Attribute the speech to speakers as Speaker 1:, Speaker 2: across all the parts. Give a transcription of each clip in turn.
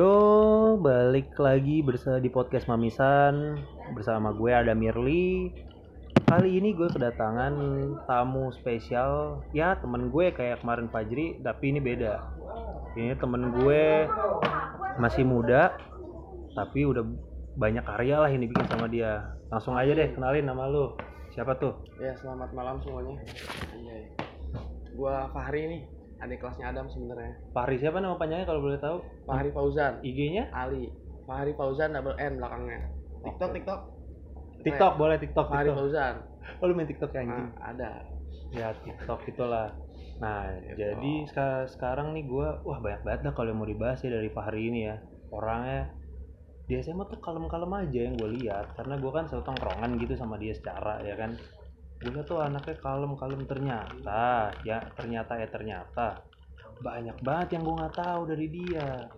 Speaker 1: Yo, balik lagi bersama di podcast Mamisan bersama gue ada Mirli. Kali ini gue kedatangan tamu spesial. Ya, temen gue kayak kemarin Fajri, tapi ini beda. Ini temen gue masih muda, tapi udah banyak karya lah yang dibikin sama dia. Langsung aja deh kenalin nama lu. Siapa tuh?
Speaker 2: Ya selamat malam semuanya. Iya. iya. Gua Fahri nih, adik kelasnya Adam sebenarnya.
Speaker 1: Fahri siapa nama panjangnya kalau boleh tahu?
Speaker 2: Fahri Fauzan,
Speaker 1: IG-nya?
Speaker 2: Ali. Fahri Fauzan double N belakangnya. TikTok TikTok.
Speaker 1: TikTok boleh TikTok.
Speaker 2: ya? Fahri
Speaker 1: TikTok.
Speaker 2: Fauzan.
Speaker 1: Oh, lu main TikTok ya, anjing.
Speaker 2: Nah, ada.
Speaker 1: ya TikTok itulah nah
Speaker 2: Gitu.
Speaker 1: jadi seka- sekarang nih gue wah banyak banget dah kalau yang mau dibahas ya dari Fahri ini ya orangnya biasanya mah tuh kalem-kalem aja yang gue lihat karena gue kan satu tongkrongan gitu sama dia secara ya kan gue liat tuh anaknya kalem-kalem ternyata ya ternyata ya ternyata banyak banget yang gue nggak tahu dari dia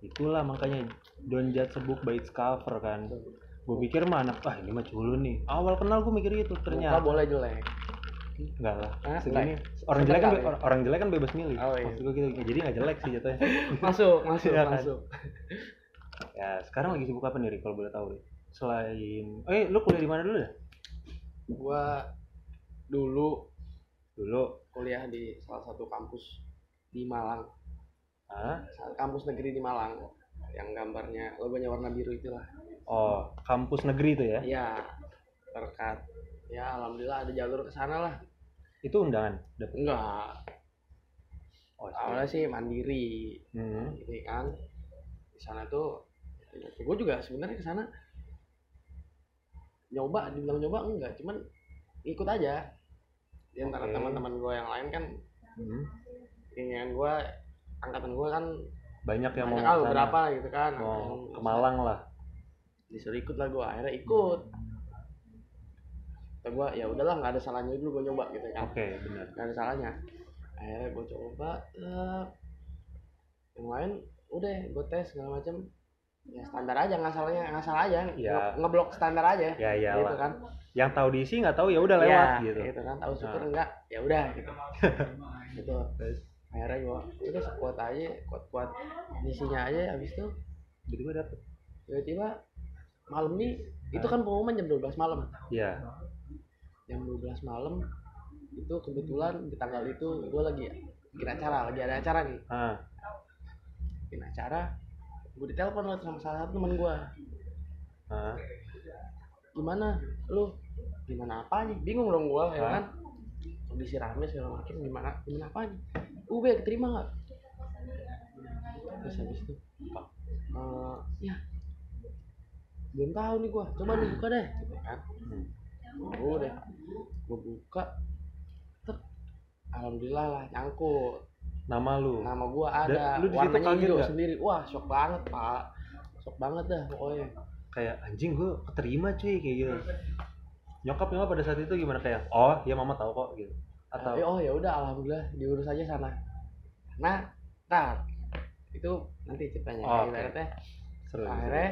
Speaker 1: itulah makanya don't judge a book by its cover kan gue pikir mah anak ah ini mah culun nih awal kenal gue mikir itu
Speaker 2: Ternyata
Speaker 1: ternyata
Speaker 2: boleh jelek.
Speaker 1: Enggak lah.
Speaker 2: Hah?
Speaker 1: Segini orang jelek kan
Speaker 2: Ah, Sebentar
Speaker 1: be-
Speaker 2: ya?
Speaker 1: or- orang jelek kan bebas milih.
Speaker 2: Oh, iya.
Speaker 1: Maksud gua gitu. Ya, Jadi nggak jelek sih jatuhnya.
Speaker 2: Masuk, masuk,
Speaker 1: Iya kan?
Speaker 2: masuk.
Speaker 1: ya, sekarang lagi sibuk apa nih Ri, kalau boleh tahu Ri? Selain eh lu kuliah di mana dulu dah?
Speaker 2: Gua dulu
Speaker 1: Dulu.
Speaker 2: kuliah di salah satu kampus di Malang,
Speaker 1: Hah?
Speaker 2: kampus negeri di Malang yang gambarnya logonya warna biru itulah.
Speaker 1: Oh, kampus negeri itu ya.
Speaker 2: Iya. Berkat ya alhamdulillah ada jalur ke sana lah.
Speaker 1: Itu undangan dapat.
Speaker 2: Enggak,
Speaker 1: Oh, iya.
Speaker 2: awalnya sih mandiri
Speaker 1: Hmm.
Speaker 2: gitu kan di sana tuh gue juga sebenarnya ke sana nyoba dibilang nyoba enggak cuman ikut aja di antara
Speaker 1: Oke.
Speaker 2: teman-teman gue yang lain kan
Speaker 1: Hmm.
Speaker 2: keinginan gue angkatan gue kan
Speaker 1: Banyak yang mau
Speaker 2: banyak
Speaker 1: ke
Speaker 2: ah,
Speaker 1: sana.
Speaker 2: berapa gitu kan
Speaker 1: Mau
Speaker 2: Yang
Speaker 1: ke Malang lah.
Speaker 2: disuruh ikut lah gue akhirnya ikut kata gue ya udahlah nggak ada salahnya dulu gue nyoba gitu kan
Speaker 1: Oke, benar.
Speaker 2: nggak ada salahnya akhirnya gue coba eh, yang lain udah gue tes segala macam ya standar aja nggak salahnya nggak salah aja
Speaker 1: Ya.
Speaker 2: nge- ngeblok standar aja
Speaker 1: Ya iyalah.
Speaker 2: gitu kan
Speaker 1: Yang tahu diisi nggak tahu ya udah lewat
Speaker 2: Ya,
Speaker 1: gitu.
Speaker 2: kan tahu syukur
Speaker 1: Nah.
Speaker 2: enggak ya udah gitu gitu
Speaker 1: Terus?
Speaker 2: akhirnya gue udah sekuat aja kuat kuat isinya aja habis itu
Speaker 1: Jadi gue dapet.
Speaker 2: tiba-tiba malam nih itu kan pengumuman jam 12 malam
Speaker 1: Iya.
Speaker 2: jam 12 malam itu kebetulan di tanggal itu gue lagi bikin acara lagi ada acara nih
Speaker 1: Ah,
Speaker 2: bikin acara gue ditelepon lah sama salah satu temen gue
Speaker 1: ah.
Speaker 2: gimana lu gimana apa nih bingung dong gue ya
Speaker 1: Hah?
Speaker 2: kan kondisi rame segala macam gimana gimana apa nih UB keterima nggak terus habis itu "Eh, ya belum tahu nih gue coba lu buka deh gitu kan
Speaker 1: Hmm.
Speaker 2: gue deh gue buka Ter- alhamdulillah lah nyangkut
Speaker 1: Nama lu.
Speaker 2: nama gua ada
Speaker 1: Dan lu di situ
Speaker 2: warnanya
Speaker 1: kaget
Speaker 2: hijau
Speaker 1: nggak?
Speaker 2: sendiri wah shock banget pak shock banget dah pokoknya
Speaker 1: kayak anjing gue keterima cuy kayak gitu nyokap nyokap pada saat itu gimana kayak oh ya mama tahu kok gitu atau
Speaker 2: tapi oh ya udah alhamdulillah diurus aja sana nah ntar itu nanti ceritanya
Speaker 1: Oh, oke.
Speaker 2: ibaratnya
Speaker 1: seru gitu. seru.
Speaker 2: akhirnya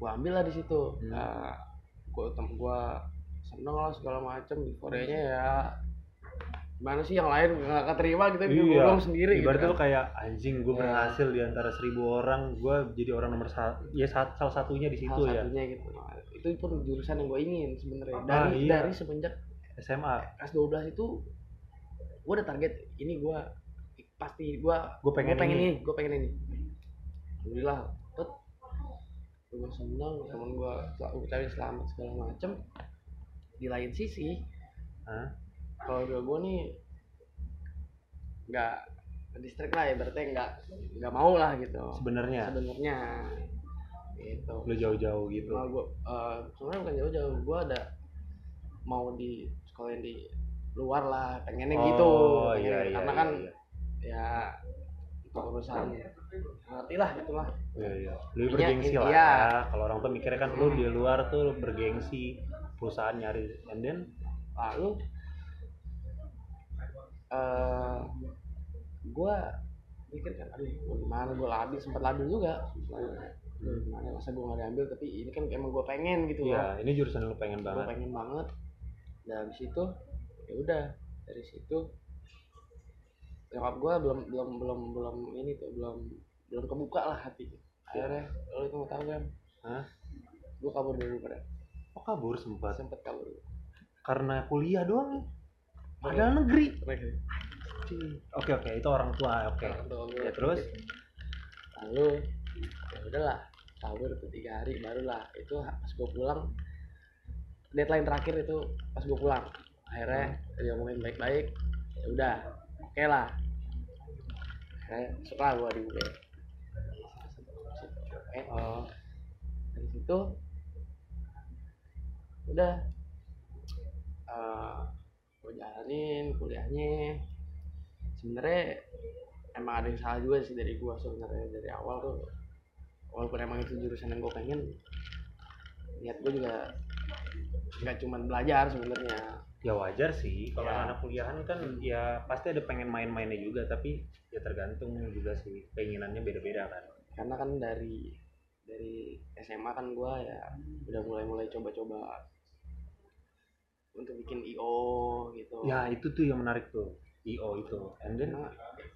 Speaker 2: gua ambil lah di situ
Speaker 1: Hmm.
Speaker 2: Nah, gua tem gua seneng lah segala macem di Koreanya ya gimana sih yang lain nggak keterima gitu bikin
Speaker 1: Iya.
Speaker 2: gulung sendiri gitu
Speaker 1: ibaratnya
Speaker 2: kan.
Speaker 1: lu kayak anjing gue
Speaker 2: Ya.
Speaker 1: berhasil di antara seribu orang gue jadi orang nomor satu ya sa- salah satunya di situ ya
Speaker 2: salah satunya gitu Nah, itu pun jurusan yang gue ingin sebenarnya
Speaker 1: Ah,
Speaker 2: dari
Speaker 1: iya.
Speaker 2: dari semenjak
Speaker 1: SMA
Speaker 2: kelas 12 itu gue udah target ini gue pasti gue
Speaker 1: gue pengen,
Speaker 2: pengen, pengen
Speaker 1: ini
Speaker 2: ini, gue pengen ini alhamdulillah dapet gue seneng temen gue ucapin selamat segala macem di lain sisi
Speaker 1: Hah?
Speaker 2: kalau gue gue nih nggak distrik lah ibaratnya nggak nggak mau lah gitu
Speaker 1: sebenarnya
Speaker 2: sebenarnya gitu
Speaker 1: lu jauh-jauh gitu
Speaker 2: Nah, gua eh, sebenarnya bukan jauh-jauh, gua ada mau di sekolah yang di luar lah, pengennya gitu.
Speaker 1: oh iya
Speaker 2: pengennya gitu.
Speaker 1: iya
Speaker 2: Karena
Speaker 1: iya,
Speaker 2: kan
Speaker 1: iya.
Speaker 2: ya itu urusan ngerti lah gitu lah.
Speaker 1: Iya, iya. Lebih
Speaker 2: Intinya-
Speaker 1: bergengsi lah.
Speaker 2: iya. Hmm.
Speaker 1: ya. Kalau orang tuh mikirnya kan lu di luar tuh bergengsi perusahaan nyari and then
Speaker 2: Lalu eh gua mikir kan aduh gua gimana gua labil sempat labil juga Sebenarnya, aduh, gimana masa gua nggak diambil tapi ini kan emang gua pengen gitu lah.
Speaker 1: iya ini jurusan yang lu pengen
Speaker 2: gue
Speaker 1: banget
Speaker 2: pengen banget dan habis itu ya udah dari situ nyokap gue belum belum belum belum ini tuh belum belum kebuka lah hatinya akhirnya lo itu mau tahu kan
Speaker 1: Iya. Hah?
Speaker 2: gue kabur dulu pada
Speaker 1: Oh kabur sempat
Speaker 2: sempet kabur dulu
Speaker 1: karena kuliah doang.
Speaker 2: Iya.
Speaker 1: Padahal negeri.
Speaker 2: Terakhir.
Speaker 1: Oke oke itu orang tua. Oke.
Speaker 2: Orang tua gue.
Speaker 1: Ya, terus?
Speaker 2: lalu ya udahlah kabur tuh tiga hari barulah itu ha- pas gue pulang deadline terakhir itu pas gue pulang akhirnya
Speaker 1: Hmm.
Speaker 2: diomongin baik-baik ya udah oke lah akhirnya masuk lah gue di UB Oke,
Speaker 1: Oh,
Speaker 2: Eh, dari situ udah eh gue jalanin kuliahnya sebenarnya emang ada yang salah juga sih dari gua sebenarnya dari awal tuh walaupun emang itu jurusan yang gue pengen niat gue juga nggak cuman belajar sebenarnya
Speaker 1: ya wajar sih kalau
Speaker 2: Ya.
Speaker 1: anak kuliahan kan
Speaker 2: Hmm.
Speaker 1: ya pasti ada pengen main-mainnya juga tapi ya tergantung juga sih keinginannya beda-beda kan.
Speaker 2: karena kan dari dari SMA kan gua ya udah mulai-mulai coba-coba untuk bikin IO gitu
Speaker 1: Ya itu tuh yang menarik tuh. IO itu. And then
Speaker 2: karena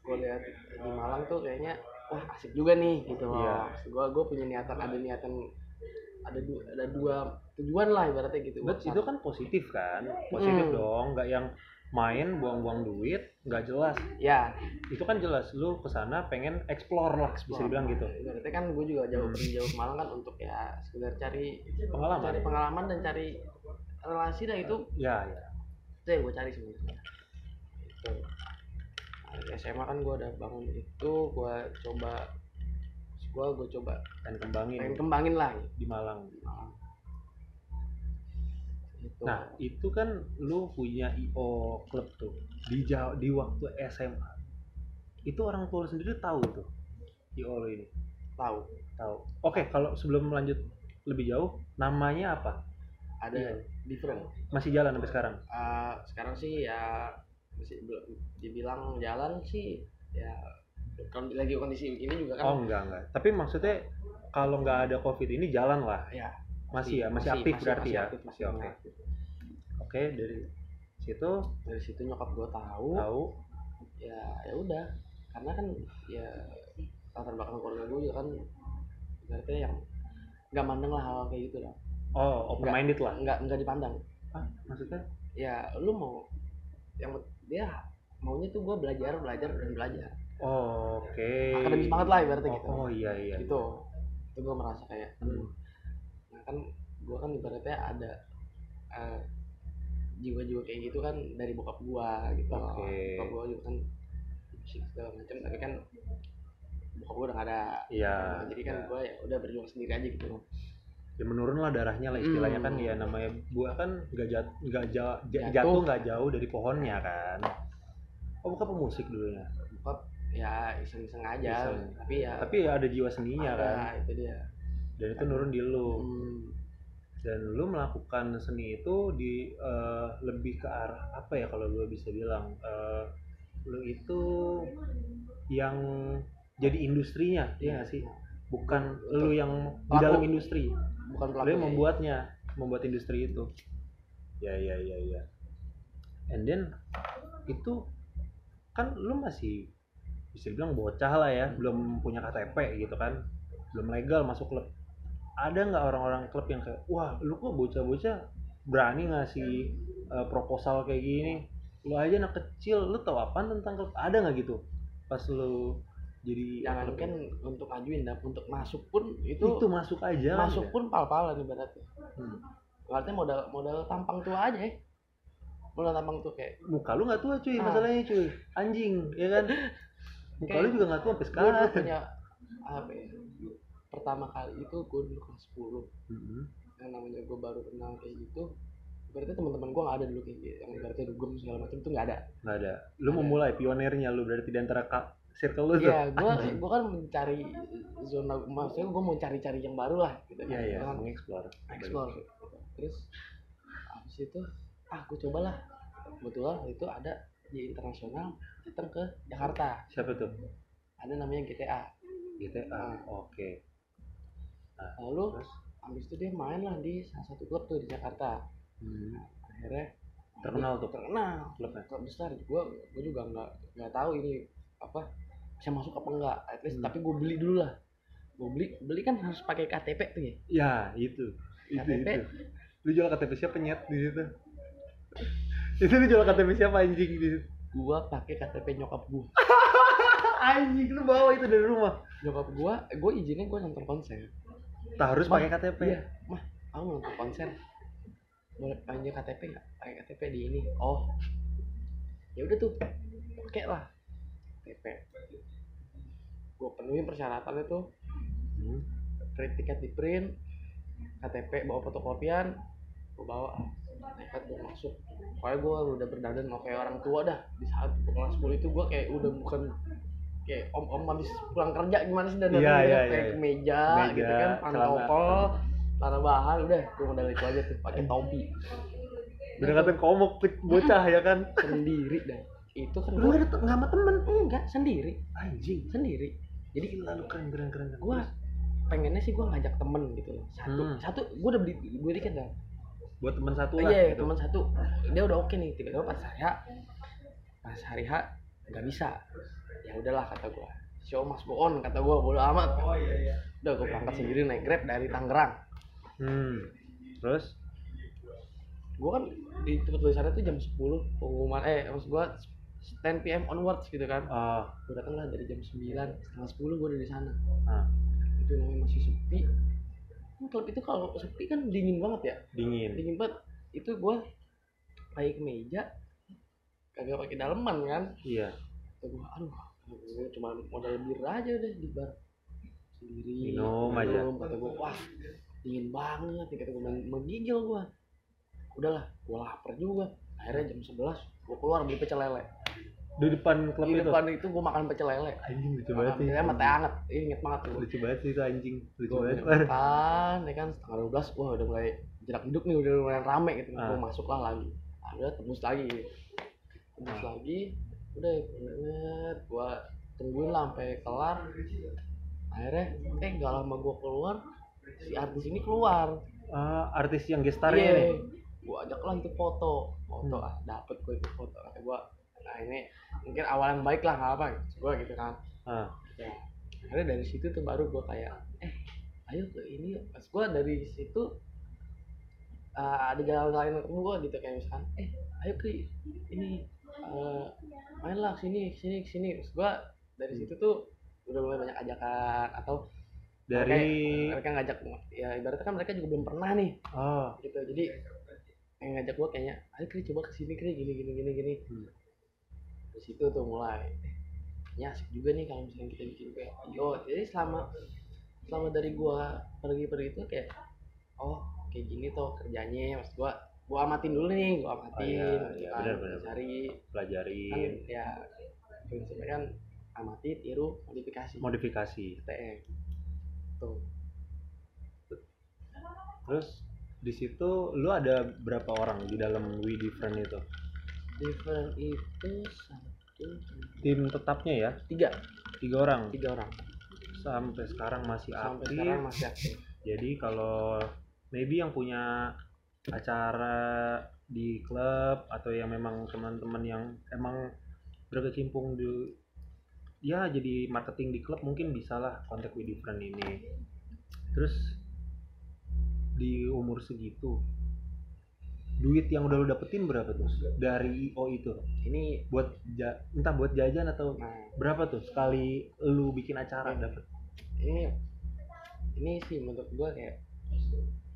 Speaker 2: gue lihat di Malang tuh kayaknya wah asik juga nih gitu loh
Speaker 1: Iya.
Speaker 2: gue gue punya niatan ada niatan ada dua ada dua tujuan lah ibaratnya gitu
Speaker 1: But itu kan positif kan, positif
Speaker 2: Hmm.
Speaker 1: dong, nggak yang main buang-buang duit, nggak jelas.
Speaker 2: ya
Speaker 1: Itu kan jelas, lu kesana pengen explore lah, bisa dibilang gitu.
Speaker 2: ibaratnya kan gue juga jauh
Speaker 1: Hmm.
Speaker 2: pergi jauh ke Malang kan untuk ya sekedar cari
Speaker 1: Pengalaman.
Speaker 2: cari pengalaman dan cari relasi dah itu
Speaker 1: Ya, ya.
Speaker 2: itu yang gue cari sebenarnya itu Dari SMA kan gue udah bangun itu gue coba gue gue coba
Speaker 1: Dan kembangin
Speaker 2: pengen kembangin lah gitu.
Speaker 1: di Malang.
Speaker 2: Gitu.
Speaker 1: Nah, itu kan lu punya IO klub tuh di Jawa, di waktu SMA. Itu orang tua lu sendiri tahu tuh IO lu ini,
Speaker 2: tahu
Speaker 1: tahu. Oke, kalau sebelum lanjut lebih jauh, namanya apa?
Speaker 2: ada
Speaker 1: Iya.
Speaker 2: different
Speaker 1: Masih jalan sampai sekarang?
Speaker 2: Eh, sekarang sih ya masih belum dibilang jalan sih ya kalau lagi kondisi begini juga kan
Speaker 1: Oh enggak enggak. Tapi maksudnya kalau nggak ada covid ini jalan lah.
Speaker 2: ya
Speaker 1: Masih ya, masih, aktif berarti
Speaker 2: masih
Speaker 1: ya.
Speaker 2: aktif, masih
Speaker 1: Masih oke.
Speaker 2: aktif.
Speaker 1: Oke dari situ
Speaker 2: dari situ nyokap gue tahu
Speaker 1: tahu.
Speaker 2: ya ya udah karena kan ya latar belakang keluarga gue juga kan berarti yang nggak mandang lah hal, kayak gitu lah
Speaker 1: Oh open minded lah.
Speaker 2: nggak nggak dipandang
Speaker 1: Ah, maksudnya?
Speaker 2: ya lu mau yang dia maunya tuh gue belajar belajar dan belajar
Speaker 1: Oh, oke.
Speaker 2: akademis banget lah ibaratnya
Speaker 1: Oh,
Speaker 2: gitu
Speaker 1: oh, iya iya.
Speaker 2: gitu itu gue merasa kayak
Speaker 1: Hmm.
Speaker 2: nah kan gue kan ibaratnya ada eh, jiwa-jiwa kayak gitu kan dari bokap gue gitu loh.
Speaker 1: Oke.
Speaker 2: bokap gue juga kan musik segala macam tapi kan bokap gue udah gak ada
Speaker 1: Iya.
Speaker 2: Nah, jadi kan gue ya udah berjuang sendiri aja gitu loh
Speaker 1: ya menurun lah darahnya lah istilahnya kan
Speaker 2: Hmm.
Speaker 1: ya namanya buah kan nggak jat nggak ja- ja-
Speaker 2: Jatuh.
Speaker 1: jatuh nggak jauh dari pohonnya kan. Oh bukan pemusik dulunya.
Speaker 2: bokap ya iseng-iseng aja
Speaker 1: Iseng.
Speaker 2: tapi ya
Speaker 1: Tapi ya ada jiwa seninya
Speaker 2: ada,
Speaker 1: kan.
Speaker 2: itu dia
Speaker 1: Dan itu nurun di lu.
Speaker 2: Hmm.
Speaker 1: dan lu melakukan seni itu di eh, lebih ke arah apa ya kalau gue bisa bilang Eh, lu itu yang jadi industrinya ya nggak sih bukan lu yang di
Speaker 2: Pelaku.
Speaker 1: dalam industri
Speaker 2: bukan
Speaker 1: lu
Speaker 2: pelaku
Speaker 1: yang membuatnya membuat industri itu ya ya ya ya and then itu kan lu masih bisa bilang bocah lah ya belum punya KTP gitu kan belum legal masuk klub ada nggak orang-orang klub yang kayak wah lu kok bocah-bocah berani ngasih eh, proposal kayak gini lu aja anak kecil lu tahu apaan tentang klub ada nggak gitu pas lu jadi
Speaker 2: jangan
Speaker 1: klub
Speaker 2: kan untuk ajuin dan untuk masuk pun
Speaker 1: itu,
Speaker 2: itu,
Speaker 1: masuk aja
Speaker 2: masuk
Speaker 1: ya?
Speaker 2: pun pal-palan ibaratnya
Speaker 1: Hmm.
Speaker 2: Artinya modal modal tampang tua aja ya. Modal tampang tua kayak
Speaker 1: muka lu nggak tua cuy
Speaker 2: Ah.
Speaker 1: masalahnya cuy anjing ya kan muka lu
Speaker 2: Kayak-
Speaker 1: juga nggak tua sampai
Speaker 2: gue dulu
Speaker 1: sekarang
Speaker 2: punya apa ya pertama kali itu gue dulu kelas 10
Speaker 1: Mhm.
Speaker 2: yang namanya gue baru kenal kayak gitu berarti teman-teman gue nggak ada dulu kayak gitu yang ibaratnya dugem segala macam tuh nggak ada
Speaker 1: nggak ada lu
Speaker 2: Ada.
Speaker 1: memulai pionernya lu berarti di antara ka- circle lu tuh
Speaker 2: iya gue gue kan mencari zona maksudnya gue mau cari-cari yang baru lah gitu kan.
Speaker 1: iya iya
Speaker 2: Gua kan
Speaker 1: mengeksplor
Speaker 2: explore terus habis itu ah gue cobalah kebetulan itu ada di internasional datang ke Jakarta
Speaker 1: siapa tuh
Speaker 2: ada namanya GTA Ah.
Speaker 1: GTA oke
Speaker 2: lalu
Speaker 1: terus
Speaker 2: habis itu dia main lah di salah satu klub tuh di Jakarta
Speaker 1: hmm,
Speaker 2: akhirnya
Speaker 1: Terkenal tuh?
Speaker 2: terkenal
Speaker 1: klubnya
Speaker 2: klub besar gua gua juga nggak nggak tahu ini apa bisa masuk apa enggak at least
Speaker 1: Hmm.
Speaker 2: tapi gue beli dulu lah gue beli beli kan harus pakai KTP tuh ya
Speaker 1: Ya itu. Itu
Speaker 2: KTP.
Speaker 1: itu. Lu jual KTP siapa nyet di situ? itu lu jual KTP siapa anjing di situ?
Speaker 2: gue pakai KTP nyokap gue
Speaker 1: Anjing lu bawa itu dari rumah.
Speaker 2: nyokap gue gue izinnya gue nonton konser
Speaker 1: Tak harus
Speaker 2: Mah,
Speaker 1: pakai KTP.
Speaker 2: iya mah aku mau nonton konser boleh panggil KTP nggak pakai KTP di ini oh ya udah tuh oke lah KTP gue penuhi persyaratannya tuh
Speaker 1: Hmm.
Speaker 2: print tiket di print KTP bawa fotokopian gue bawa nekat gue masuk pokoknya gue udah berdandan mau kayak orang tua dah di saat gua kelas 10 itu gue kayak udah bukan kayak om om habis pulang kerja gimana sih dandan
Speaker 1: Iya,
Speaker 2: gitu,
Speaker 1: iya,
Speaker 2: kayak
Speaker 1: iya.
Speaker 2: kemeja
Speaker 1: Kemeja,
Speaker 2: gitu kan pantopel
Speaker 1: celana.
Speaker 2: celana bahan udah gue modal itu aja tuh pakai topi
Speaker 1: Bener-bener komok pik, bocah ya kan.
Speaker 2: sendiri dah itu kan
Speaker 1: Lu
Speaker 2: gue
Speaker 1: nggak ada nggak sama temen
Speaker 2: enggak sendiri
Speaker 1: anjing.
Speaker 2: sendiri jadi
Speaker 1: Gila lu keren keren keren. keren.
Speaker 2: gue pengennya sih gue ngajak temen gitu loh satu
Speaker 1: Hmm.
Speaker 2: satu gue udah beli gue tiket kan. dah
Speaker 1: buat temen satu
Speaker 2: Oh
Speaker 1: lah.
Speaker 2: iya,
Speaker 1: gitu.
Speaker 2: teman satu dia udah oke nih tiba-tiba pas saya pas hari H nggak bisa ya udahlah kata gua show must go on kata gua bodo amat
Speaker 1: Oh iya iya.
Speaker 2: udah gua berangkat sendiri naik grab dari Tangerang
Speaker 1: Hmm. Terus
Speaker 2: gua kan di tempat tulisannya tuh jam 10 pengumuman eh maksud gua 10 p.m. onwards gitu kan
Speaker 1: ah
Speaker 2: gua datang lah dari jam 9 setengah 10 gua udah di sana
Speaker 1: Ah.
Speaker 2: itu namanya masih sepi Kan klub itu kalau sepi kan dingin banget ya
Speaker 1: dingin.
Speaker 2: dingin banget itu gua pakai kemeja kagak pakai daleman kan
Speaker 1: Iya.
Speaker 2: kata gue aduh gue cuma modal bir aja udah di bar sendiri
Speaker 1: Minum aja.
Speaker 2: kata gue wah dingin banget nih kata gue menggigil gue udahlah gue lapar juga akhirnya jam 11 gue keluar beli pecel lele
Speaker 1: Di depan klub
Speaker 2: di
Speaker 1: itu.
Speaker 2: depan itu gue makan pecel lele
Speaker 1: Anjing lucu
Speaker 2: makan
Speaker 1: banget
Speaker 2: pecel lele sama teh
Speaker 1: sih.
Speaker 2: anget Ih, inget banget tuh
Speaker 1: Lucu banget sih itu anjing. Lucu
Speaker 2: gue
Speaker 1: banget.
Speaker 2: makan ya kan setengah 12 wah udah mulai jerak hidup nih udah mulai rame gitu
Speaker 1: Ah.
Speaker 2: gue masuklah lagi Nah, udah tembus lagi tembus
Speaker 1: Ah.
Speaker 2: lagi udah bener gue tungguin lah sampai kelar akhirnya eh gak lama gue keluar si artis ini keluar
Speaker 1: Ah, artis yang gestarnya ini.
Speaker 2: gue ajak lah itu foto foto
Speaker 1: Hmm.
Speaker 2: ah dapet gue itu foto kata gue nah ini mungkin awalan baik lah nggak apa gue gitu kan
Speaker 1: Ah.
Speaker 2: ya akhirnya dari situ tuh baru gue kayak eh ayo ke ini yuk. pas gue dari situ eh, ada jalan lain ketemu gue gitu kayak misalkan eh ayo ke ini eh, main lah sini sini sini terus gue dari situ tuh udah mulai banyak ajakan atau
Speaker 1: Dari
Speaker 2: mereka ngajak ya ibaratnya kan mereka juga belum pernah nih
Speaker 1: oh,
Speaker 2: gitu jadi yang ngajak gue kayaknya ayo kri coba kesini kri gini gini gini gini
Speaker 1: Hmm.
Speaker 2: di situ tuh mulai ya asik juga nih kalau misalnya kita bikin kayak yo jadi selama selama dari gue pergi pergi itu kayak oh kayak gini tuh kerjanya maksud gue gue amatin dulu nih gue amatin
Speaker 1: iya,
Speaker 2: gitu
Speaker 1: iya,
Speaker 2: kan,
Speaker 1: benar, benar, benar. Iya.
Speaker 2: cari kan
Speaker 1: pelajarin
Speaker 2: ya prinsipnya kan amati tiru modifikasi
Speaker 1: modifikasi.
Speaker 2: TM tuh
Speaker 1: Terus di situ lu ada berapa orang di dalam We Different itu?
Speaker 2: different itu satu
Speaker 1: Tim tetapnya ya,
Speaker 2: tiga
Speaker 1: tiga orang.
Speaker 2: tiga orang
Speaker 1: Sampai sekarang masih
Speaker 2: sampai
Speaker 1: aktif.
Speaker 2: sekarang masih aktif
Speaker 1: Jadi kalau maybe yang punya acara di klub atau yang memang teman-teman yang emang berkecimpung di ya jadi marketing di klub mungkin bisalah kontak with different ini. Terus di umur segitu duit yang udah lu dapetin berapa tuh dari IO itu
Speaker 2: ini
Speaker 1: buat ja- entah buat jajan atau
Speaker 2: nah
Speaker 1: berapa tuh sekali lu bikin acara
Speaker 2: Iya.
Speaker 1: dapet
Speaker 2: ini ini sih menurut gue kayak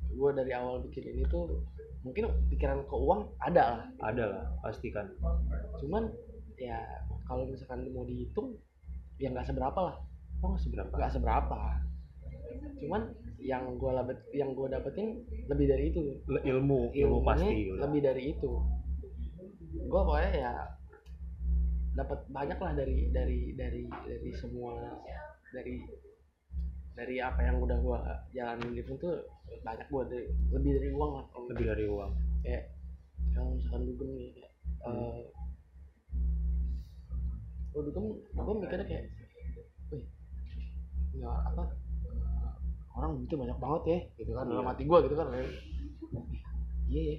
Speaker 2: gue dari awal bikin ini tuh mungkin pikiran ke uang ada lah
Speaker 1: ada lah pasti kan
Speaker 2: cuman ya kalau misalkan mau dihitung ya nggak seberapa lah
Speaker 1: oh nggak seberapa
Speaker 2: nggak seberapa cuman yang gue dapet yang gue dapetin lebih dari itu
Speaker 1: Le- ilmu ilmu
Speaker 2: Ilmunya
Speaker 1: pasti udah.
Speaker 2: lebih dari itu gue pokoknya ya dapat banyak lah dari dari dari dari semua dari dari apa yang udah gue jalanin gitu tuh banyak gue dari, lebih dari uang lah kalau
Speaker 1: lebih dari uang
Speaker 2: kalau misalkan dugem nih kayak eh, kalau dugem gue mikirnya kayak wih ya apa eh, orang duitnya banyak banget ya gitu kan dalam
Speaker 1: Iya.
Speaker 2: hati gue gitu kan kayak, iya ya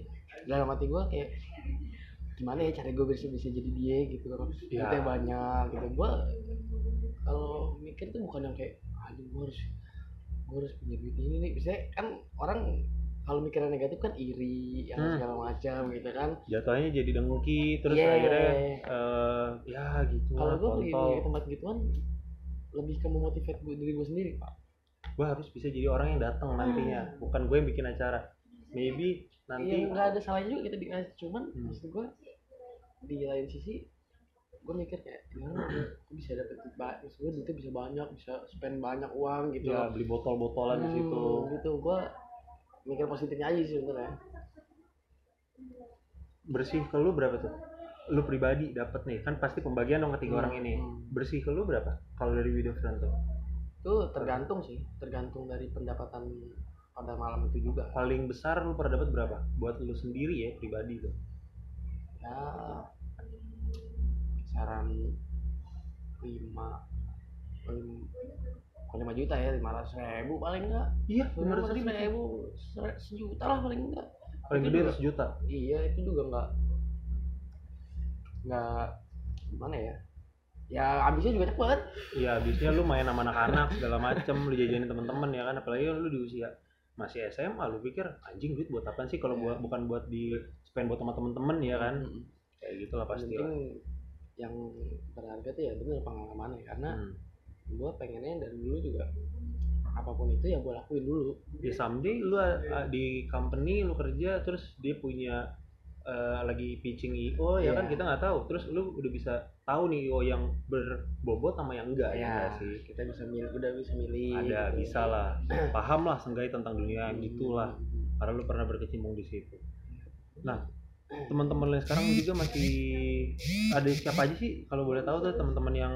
Speaker 2: dalam hati gue kayak gimana ya cara gue bisa bisa jadi dia gitu kan
Speaker 1: Iya.
Speaker 2: duitnya banyak gitu gue kalau mikir tuh bukan yang kayak aduh gue harus gue harus punya duit ini nih biasanya kan orang kalau mikirnya negatif kan iri yang
Speaker 1: Hmm.
Speaker 2: segala macam gitu kan
Speaker 1: jatuhnya jadi dengki terus
Speaker 2: Yeah.
Speaker 1: akhirnya eh, ya gitu
Speaker 2: Iya, kalau
Speaker 1: lah
Speaker 2: gue pergi
Speaker 1: kontol.
Speaker 2: ke tempat gituan lebih ke memotivate gue diri gue sendiri pak
Speaker 1: gue harus bisa jadi orang yang datang
Speaker 2: Hmm.
Speaker 1: nantinya bukan gue yang bikin acara maybe nanti
Speaker 2: Iya, nggak ada salahnya juga kita di cuman
Speaker 1: Hmm.
Speaker 2: maksud gue di lain sisi gue mikir kayak gimana ya, gue bisa dapet duit banyak maksud gue duitnya bisa banyak bisa spend banyak uang gitu
Speaker 1: ya
Speaker 2: loh.
Speaker 1: beli botol-botolan di
Speaker 2: Hmm,
Speaker 1: situ
Speaker 2: gitu gue mikir positifnya aja sih sebenarnya
Speaker 1: bersih ke lu berapa tuh lu pribadi dapat nih kan pasti pembagian dong ketiga
Speaker 2: Hmm,
Speaker 1: orang ini
Speaker 2: hmm.
Speaker 1: bersih ke lu berapa kalau dari video front tuh
Speaker 2: itu tergantung sih tergantung dari pendapatan pada malam itu juga
Speaker 1: paling besar lu pernah dapat berapa buat lu sendiri ya pribadi tuh
Speaker 2: ya kisaran lima lim- bukan lima juta ya lima ratus ribu paling enggak
Speaker 1: iya
Speaker 2: lima
Speaker 1: bener
Speaker 2: ratus
Speaker 1: tadi
Speaker 2: ribu se- sejuta lah paling enggak
Speaker 1: paling
Speaker 2: Itu
Speaker 1: gede
Speaker 2: juga.
Speaker 1: harus juta
Speaker 2: iya itu juga enggak enggak gimana ya ya habisnya juga cepet
Speaker 1: Iya, habisnya lu main sama anak-anak segala macem, lu jajanin temen-temen ya kan, apalagi lu di usia masih SMA, lu pikir anjing duit buat apa sih kalau
Speaker 2: Iya.
Speaker 1: buat bukan buat di spend buat sama temen-temen ya kan,
Speaker 2: Mm-mm.
Speaker 1: kayak gitulah
Speaker 2: Yang
Speaker 1: pasti lah.
Speaker 2: penting yang berharga tuh ya bener pengalamannya karena
Speaker 1: Hmm.
Speaker 2: gue pengennya dari dulu juga apapun itu ya gue lakuin dulu
Speaker 1: Ya someday lu uh, di company lu kerja terus dia punya uh, lagi pitching IO ya
Speaker 2: Iya.
Speaker 1: kan kita nggak tahu, terus lu udah bisa tahu nih IO yang berbobot sama yang enggak
Speaker 2: Iya.
Speaker 1: ya, nggak sih.
Speaker 2: kita bisa milih udah bisa milih
Speaker 1: Ada
Speaker 2: gitu.
Speaker 1: bisa lah, paham lah seenggaknya tentang dunia
Speaker 2: Hmm.
Speaker 1: gitulah. karena lu pernah berkecimpung di situ. Nah, teman-teman lu yang sekarang juga masih ada siapa aja sih kalau boleh tahu tuh teman-teman yang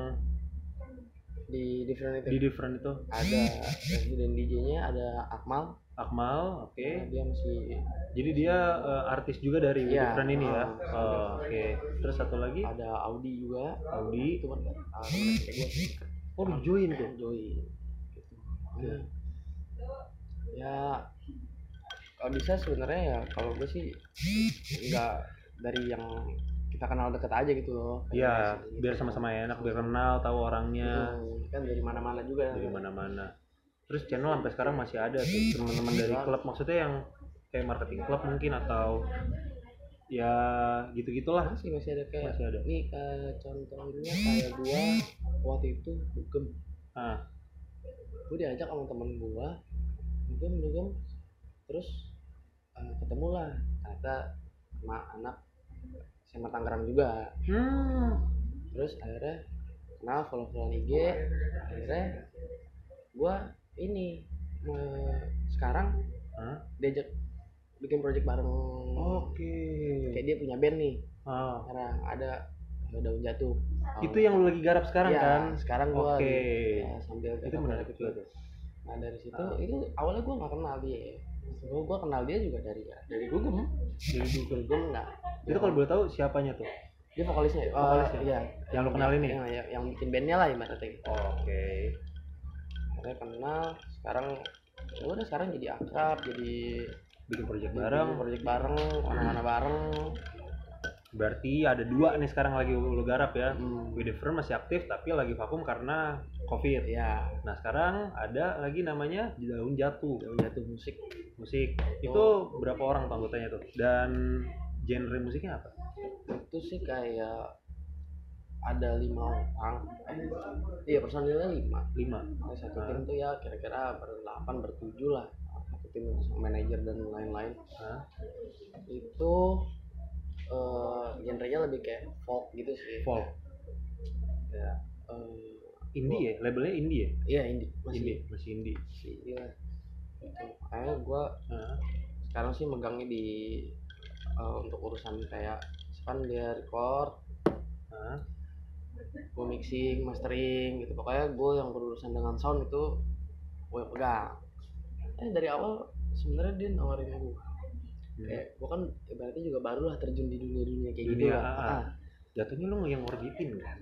Speaker 2: di different
Speaker 1: di
Speaker 2: itu
Speaker 1: different itu?
Speaker 2: ada presiden DJ-nya ada Akmal
Speaker 1: Akmal, oke.
Speaker 2: dia masih
Speaker 1: Jadi dia eh, artis juga dari
Speaker 2: Iya.
Speaker 1: different ini ya.
Speaker 2: Ah.
Speaker 1: Oh, oke. Terus satu lagi
Speaker 2: ada Audi juga
Speaker 1: Audi.
Speaker 2: itu kan ah, temen SMP gua sih.
Speaker 1: Oh, lu join tuh.
Speaker 2: Joy gitu. Nah, ya kalau bisa sebenarnya ya kalau gue sih nggak dari yang kita kenal deket aja gitu loh gitu.
Speaker 1: Iya, biar sama-sama enak, biar kenal, tahu orangnya
Speaker 2: Hmm, kan dari mana-mana juga
Speaker 1: dari mana-mana. Terus channel sampai sekarang masih ada tuh teman-teman dari klub maksudnya yang kayak marketing klub mungkin atau ya gitu-gitulah
Speaker 2: masih masih ada kayak
Speaker 1: masih ada.
Speaker 2: nih eh, contohnya kayak gua waktu itu dugem
Speaker 1: Ah.
Speaker 2: gue diajak sama temen gua dugem dugem terus eh, ketemu lah ternyata sama anak SMA Tangerang juga
Speaker 1: Hmm.
Speaker 2: terus akhirnya kenal follow followan IG akhirnya gua ini me- sekarang
Speaker 1: Hah? Oh,
Speaker 2: diajak bikin project bareng
Speaker 1: Oke.
Speaker 2: kayak dia punya band nih
Speaker 1: Ah,
Speaker 2: sekarang ada eh, daun jatuh
Speaker 1: itu yang lu lagi garap sekarang
Speaker 2: Iya,
Speaker 1: kan?
Speaker 2: sekarang gua
Speaker 1: Oke.
Speaker 2: di- ya, sambil
Speaker 1: Itu menarik juga tuh.
Speaker 2: nah dari situ
Speaker 1: Ah.
Speaker 2: itu awalnya gua nggak kenal dia ya Gua gua kenal dia juga dari dari Gugum
Speaker 1: Jadi dulu.
Speaker 2: Gugum nggak
Speaker 1: Itu kalau boleh tahu siapanya tuh?
Speaker 2: dia vokalisnya eh,
Speaker 1: Vokalisnya?
Speaker 2: iya
Speaker 1: Yang lu kenal ini?
Speaker 2: yang, yang, yang bikin bandnya lah ibaratnya gitu
Speaker 1: Oke.
Speaker 2: akhirnya kenal sekarang ya udah sekarang jadi akrab jadi
Speaker 1: Bikin project
Speaker 2: bareng
Speaker 1: bareng.
Speaker 2: project bareng mana-mana bareng
Speaker 1: Berarti ada dua nih sekarang lagi lu garap ya.
Speaker 2: hmm.
Speaker 1: We Different masih aktif tapi lagi vakum karena COVID.
Speaker 2: ya
Speaker 1: Nah sekarang ada lagi namanya Daun Jatuh
Speaker 2: daun jatuh musik
Speaker 1: musik. Itu
Speaker 2: Oh.
Speaker 1: berapa orang tuh anggotanya tuh? Dan genre musiknya apa?
Speaker 2: itu sih kayak ada lima orang eh, iya personilnya lima
Speaker 1: Lima.
Speaker 2: Nah, satu
Speaker 1: Ah.
Speaker 2: tim tuh ya kira-kira berdelapan bertujuh lah satu tim sama manajer dan lain-lain
Speaker 1: Hah?
Speaker 2: itu eh genrenya lebih kayak folk gitu sih
Speaker 1: Folk.
Speaker 2: Eh,
Speaker 1: Indie ya? Labelnya indie ya?
Speaker 2: iya indie masih
Speaker 1: Indie. Masih indie.
Speaker 2: masih iya gitu. akhirnya gue
Speaker 1: Ah.
Speaker 2: sekarang sih megangnya di eh, untuk urusan kayak kan dia record
Speaker 1: Ah.
Speaker 2: gue mixing mastering gitu pokoknya gue yang berurusan dengan sound itu gue yang pegang eh dari awal sebenarnya dia nawarin gue
Speaker 1: Hmm.
Speaker 2: kayak gue kan ibaratnya juga baru lah terjun di dunia dunia kayak gitu
Speaker 1: Dunia,
Speaker 2: lah
Speaker 1: ah,
Speaker 2: Ah,
Speaker 1: jatuhnya lu yang ngorbitin kan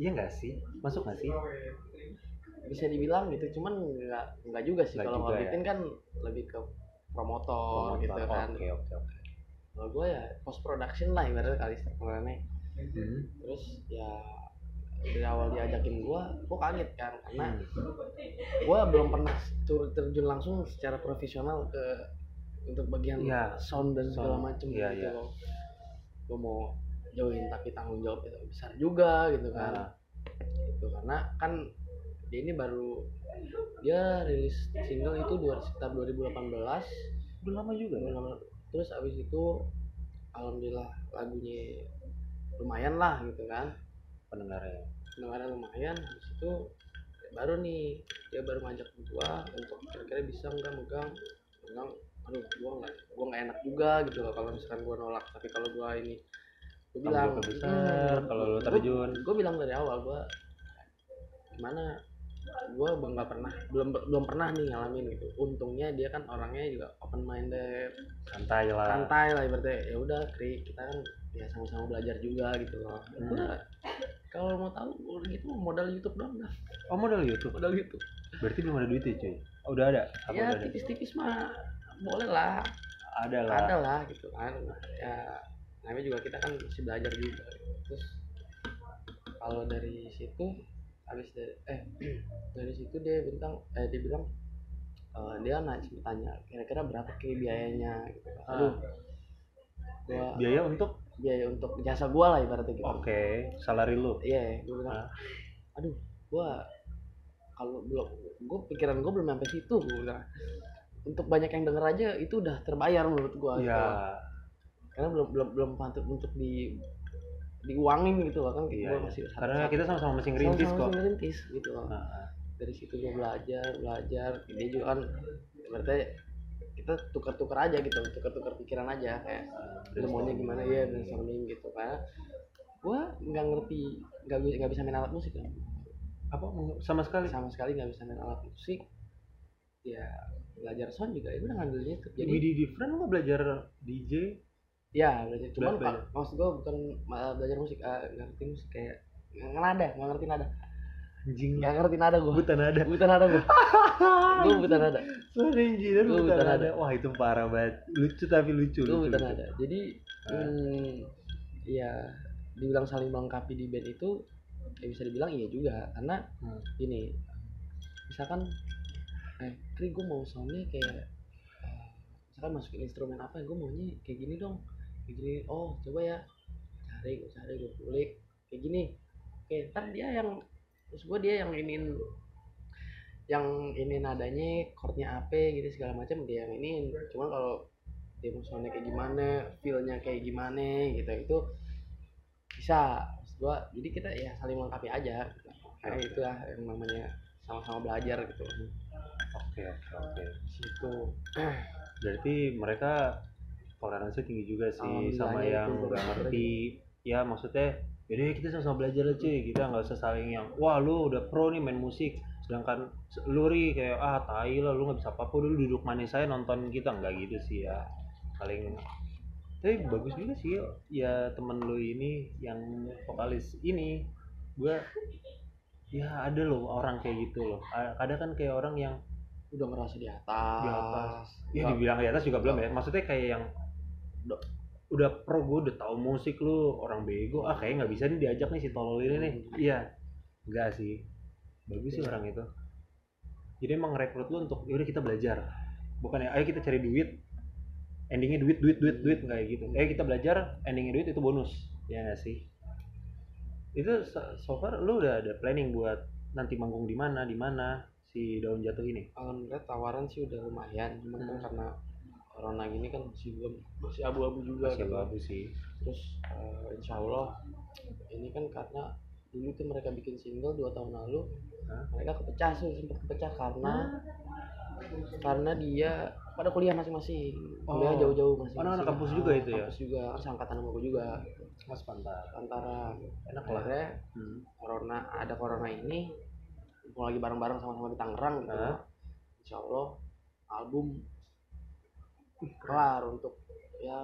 Speaker 1: iya nggak sih masuk nggak sih
Speaker 2: bisa dibilang gitu cuman nggak nggak juga sih
Speaker 1: Nggak
Speaker 2: kalau
Speaker 1: juga ya.
Speaker 2: ngorbitin kan lebih ke promotor, gitu
Speaker 1: Promotor.
Speaker 2: kan
Speaker 1: Oh, oke oke oke
Speaker 2: kalau gue ya post production lah ibaratnya kali sebenarnya
Speaker 1: Hmm.
Speaker 2: terus ya dari awal diajakin gua gua kaget kan karena
Speaker 1: Hmm.
Speaker 2: gua belum pernah tur- terjun langsung secara profesional ke untuk bagian
Speaker 1: Iya.
Speaker 2: sound dan segala
Speaker 1: Sound.
Speaker 2: macem
Speaker 1: Iya,
Speaker 2: gitu
Speaker 1: iya.
Speaker 2: loh gua mau join tapi tanggung jawab itu besar juga gitu kan
Speaker 1: Nah,
Speaker 2: gitu karena kan dia ini baru dia rilis single itu dua, sekitar 2018
Speaker 1: udah lama juga ya.
Speaker 2: Lama- terus abis itu alhamdulillah lagunya lumayan lah gitu kan
Speaker 1: pendengarnya.
Speaker 2: pendengaran lumayan habis itu baru nih dia baru ngajak gua untuk kira-kira bisa nggak megang megang aduh gua nggak gua nggak enak juga gitu loh kalau misalkan gua nolak tapi kalau gua ini gua
Speaker 1: Kamu
Speaker 2: bilang
Speaker 1: juga besar
Speaker 2: "Hmm,
Speaker 1: kalau lu
Speaker 2: gua-
Speaker 1: terjun.
Speaker 2: gue bilang dari awal gue gimana gue bang nggak pernah belum belum pernah nih ngalamin gitu untungnya dia kan orangnya juga open minded
Speaker 1: Santai lah.
Speaker 2: santai lah ibaratnya ya udah kri kita kan ya sama-sama belajar juga gitu loh
Speaker 1: Hmm.
Speaker 2: Gua, kalau mau tahu gua gitu modal YouTube doang dah
Speaker 1: Oh modal YouTube.
Speaker 2: modal YouTube
Speaker 1: Berarti belum ada duitnya cuy. Oh, udah ada. Apa
Speaker 2: ya
Speaker 1: udah ada?
Speaker 2: tipis-tipis mah boleh lah
Speaker 1: Ada lah.
Speaker 2: ada lah gitu kan ya namanya juga kita kan masih belajar juga gitu. terus kalau dari situ habis dari eh dari situ dia bintang eh dia bilang eh, dia nanya tanya kira-kira berapa ke biayanya gitu
Speaker 1: Ah.
Speaker 2: aduh gua
Speaker 1: Biaya untuk
Speaker 2: biaya Iya, untuk jasa gua lah ibaratnya gitu
Speaker 1: oke, salary lu.
Speaker 2: iya gua bilang
Speaker 1: Ah.
Speaker 2: aduh gua kalau belum gua pikiran gua belum sampai situ gua bilang untuk banyak yang denger aja itu udah terbayar menurut gua gitu
Speaker 1: Iya.
Speaker 2: loh karena belum belum belum patut untuk di diuangin gitu loh kan
Speaker 1: Iya,
Speaker 2: gua
Speaker 1: iya.
Speaker 2: masih satu-
Speaker 1: Karena kita sama-sama masih ngerintis
Speaker 2: sama-sama
Speaker 1: kok.
Speaker 2: masih ngerintis gitu loh
Speaker 1: Nah, ah.
Speaker 2: dari situ gue belajar belajar dia juga kan berarti kita tukar-tukar aja gitu tukar-tukar pikiran aja kayak lu maunya
Speaker 1: brainstorming.
Speaker 2: gimana ya brainstorming gitu karena gue nggak ngerti nggak bi- nggak bisa main alat musik kan
Speaker 1: Apa sama sekali?
Speaker 2: sama sekali nggak bisa main alat musik ya belajar sound juga itu udah ngambil YouTube
Speaker 1: Jadi
Speaker 2: jadi
Speaker 1: di different nggak belajar DJ?
Speaker 2: ya belajar cuman
Speaker 1: Belajar.
Speaker 2: Pak, maksud gue bukan ma- belajar musik eh, nggak ngerti musik kayak nggak nada nggak ngerti nada
Speaker 1: Anjing.
Speaker 2: nggak ngerti nada gue
Speaker 1: Buta nada.
Speaker 2: buta nada gue gue buta nada
Speaker 1: Sorry engineer
Speaker 2: Gua
Speaker 1: buta
Speaker 2: buta
Speaker 1: nada. Wah, itu parah banget. Lucu tapi lucu.
Speaker 2: gue
Speaker 1: lucu,
Speaker 2: buta
Speaker 1: lucu.
Speaker 2: nada jadi
Speaker 1: Ah.
Speaker 2: hmm, ya dibilang saling melengkapi di band itu ya bisa dibilang iya juga karena
Speaker 1: Hmm.
Speaker 2: ini misalkan eh Kri gue mau soundnya kayak eh, misalkan masukin instrumen apa gue maunya kayak gini dong kayak gini oh coba ya cari gue cari gue kulik kayak gini oke ntar dia yang terus gue dia yang ingin yang ini nadanya chordnya apa gitu segala macam dia yang ini cuman kalau dia mau soundnya kayak gimana feelnya kayak gimana gitu itu bisa maksud gua jadi kita ya saling melengkapi aja gitu. Nah,
Speaker 1: Oke.
Speaker 2: itulah yang namanya sama-sama belajar gitu
Speaker 1: Oke, oke, oke.
Speaker 2: situ
Speaker 1: Berarti mereka toleransi tinggi juga sih
Speaker 2: Alhamdulillah
Speaker 1: sama
Speaker 2: ya,
Speaker 1: yang
Speaker 2: itu
Speaker 1: nggak
Speaker 2: bagus.
Speaker 1: ngerti. Ya, maksudnya jadi kita sama-sama belajar aja kita nggak usah saling yang wah lu udah pro nih main musik sedangkan lu ri kayak ah tai lah lu nggak bisa apa-apa dulu duduk manis saya nonton kita nggak gitu sih ya paling tapi bagus juga sih ya temen lu ini yang vokalis ini gua ya ada loh orang kayak gitu loh A- ada kan kayak orang yang
Speaker 2: udah ngerasa di atas
Speaker 1: Di atas. ya
Speaker 2: Nggak-
Speaker 1: dibilang di atas juga belum ya maksudnya kayak yang udah, udah pro gue udah tahu musik lu orang bego ah kayak nggak bisa nih diajak nih si tolol ini nih
Speaker 2: Hmm.
Speaker 1: iya enggak sih bagus sih
Speaker 2: Iya.
Speaker 1: orang itu jadi emang rekrut lu untuk yaudah kita belajar bukan ya ayo kita cari duit endingnya duit duit duit duit nggak kayak gitu ayo kita belajar endingnya duit itu bonus ya nggak sih itu so- so far lu udah ada planning buat nanti manggung di mana di mana si daun jatuh ini
Speaker 2: alhamdulillah tawaran sih udah lumayan cuman kan
Speaker 1: Hmm.
Speaker 2: karena corona gini kan masih belum masih abu-abu juga
Speaker 1: masih
Speaker 2: gitu.
Speaker 1: bagus sih
Speaker 2: terus eh, insya Allah ini kan karena dulu tuh mereka bikin single dua tahun lalu
Speaker 1: Hah?
Speaker 2: mereka kepecah sih sempat kepecah karena karena dia pada kuliah masing-masing kuliah
Speaker 1: Oh.
Speaker 2: jauh-jauh masing-masing
Speaker 1: Anak-anak kampus juga itu ya?
Speaker 2: kampus juga seangkatan sama gue juga
Speaker 1: Mas Pantar.
Speaker 2: antara
Speaker 1: Enak lah.
Speaker 2: akhirnya
Speaker 1: Hmm.
Speaker 2: corona ada corona ini mumpung lagi bareng-bareng sama-sama di Tangerang gitu
Speaker 1: Hah?
Speaker 2: insya Allah album kelar untuk ya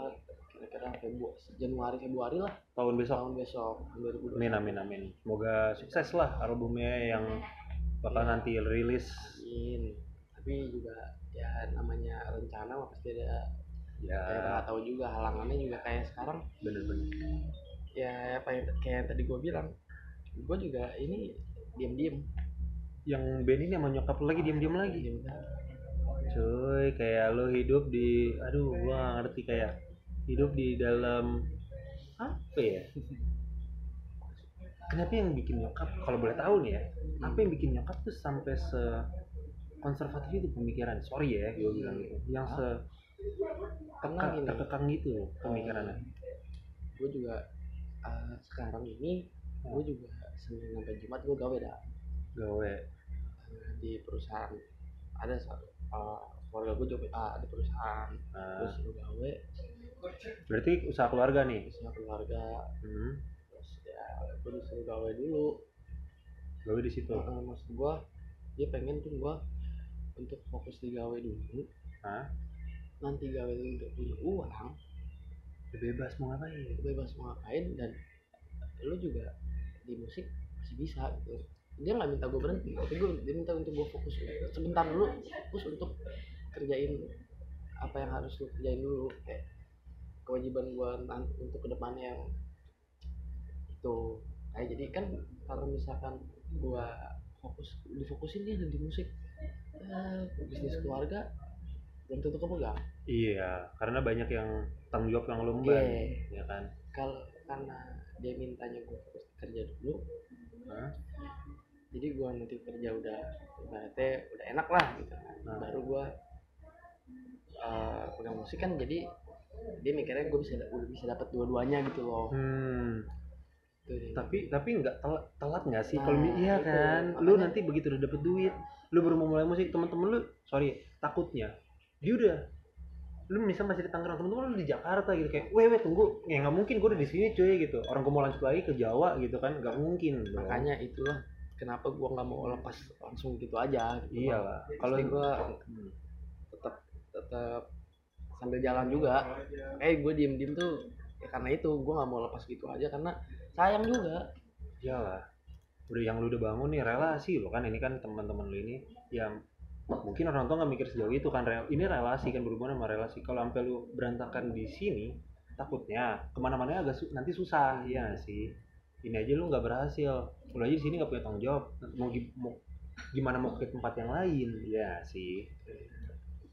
Speaker 2: kira-kira Februari Januari Februari lah
Speaker 1: Tahun besok.
Speaker 2: tahun besok 2020
Speaker 1: Amin amin amin. Semoga sukses lah albumnya yang bakal
Speaker 2: Iya.
Speaker 1: nanti rilis.
Speaker 2: Amin. tapi juga ya namanya rencana mah pasti ada kayak
Speaker 1: Ya
Speaker 2: nggak tahu juga halangannya juga kayak sekarang
Speaker 1: bener-bener.
Speaker 2: ya apa yang kayak yang tadi gue bilang gue juga ini diam-diam
Speaker 1: yang band ini sama nyokap lu lagi diam-diam lagi
Speaker 2: diam
Speaker 1: cuy kayak lo hidup di aduh gua nggak ngerti kayak hidup di dalam apa ya kenapa yang bikin nyokap kalau boleh tahu nih ya apa yang bikin nyokap tuh sampai se konservatif itu pemikiran sorry ya gue bilang gitu yang se
Speaker 2: Karena gini.
Speaker 1: terkekang gitu loh pemikirannya
Speaker 2: gue juga eh, sekarang ini
Speaker 1: Ya.
Speaker 2: gue juga senin sampai jumat gue gawe dah eh,
Speaker 1: gawe
Speaker 2: di perusahaan ada satu eh, keluarga gue juga ah, ada perusahaan
Speaker 1: Nah,
Speaker 2: terus gue gawe
Speaker 1: berarti usaha keluarga nih
Speaker 2: terusnya keluarga
Speaker 1: hmm,
Speaker 2: terus ya gue disuruh gawe dulu
Speaker 1: gawe di situ
Speaker 2: Eh, maksud gue dia pengen tuh gue untuk fokus di gawe dulu
Speaker 1: Hah?
Speaker 2: nanti gawe lu udah punya uang
Speaker 1: bebas mau ngapain
Speaker 2: bebas mau ngapain dan lu juga di musik masih bisa gitu dia nggak minta gue berhenti tapi gue dia minta untuk gue fokus gitu. sebentar dulu fokus untuk kerjain apa yang harus lu kerjain dulu kayak kewajiban gue nanti untuk kedepannya yang itu kayak jadi kan kalau misalkan gue fokus difokusin dia di musik eh, bisnis keluarga belum tentu kepegang
Speaker 1: iya karena banyak yang tanggung jawab yang lo
Speaker 2: Iya.
Speaker 1: emban ya kan
Speaker 2: kalau karena dia mintanya gue fokus kerja dulu
Speaker 1: Hah?
Speaker 2: jadi gue nanti kerja udah ibaratnya udah enak lah gitu kan.
Speaker 1: Nah.
Speaker 2: baru gue eh pegang musik kan jadi dia mikirnya gue bisa udah bisa dapat dua-duanya gitu loh
Speaker 1: Hmm,
Speaker 2: Tuh, dia.
Speaker 1: tapi tapi nggak telat telat nggak sih kalau
Speaker 2: Nah,
Speaker 1: mi- iya
Speaker 2: itu.
Speaker 1: kan lu
Speaker 2: Makanya-
Speaker 1: nanti begitu udah dapet duit lu baru mau mulai musik teman-teman lu sorry takutnya dia udah lu misal masih di Tangerang teman-teman lu di Jakarta gitu kayak weh weh tunggu ya nggak mungkin gue udah di sini cuy gitu orang gue mau lanjut lagi ke Jawa gitu kan nggak mungkin dong.
Speaker 2: makanya itulah kenapa gue nggak mau lepas langsung gitu aja gitu
Speaker 1: iya
Speaker 2: Bang.
Speaker 1: lah
Speaker 2: kalau
Speaker 1: kalau
Speaker 2: gue
Speaker 1: Hmm.
Speaker 2: tetap tetap sambil jalan juga eh gue diem-diem tuh ya karena itu gue nggak mau lepas gitu aja karena sayang juga
Speaker 1: iyalah Ya udah yang lu udah bangun nih relasi lo kan ini kan teman-teman lu ini yang mungkin orang tua nggak mikir sejauh itu kan rel- ini relasi kan berhubungan sama relasi kalau sampai lu berantakan di sini takutnya kemana-mana agak su- nanti susah ya nggak sih ini aja lu nggak berhasil lu aja di sini nggak punya tanggung jawab mau, gi- mau gimana mau ke tempat yang lain ya nggak sih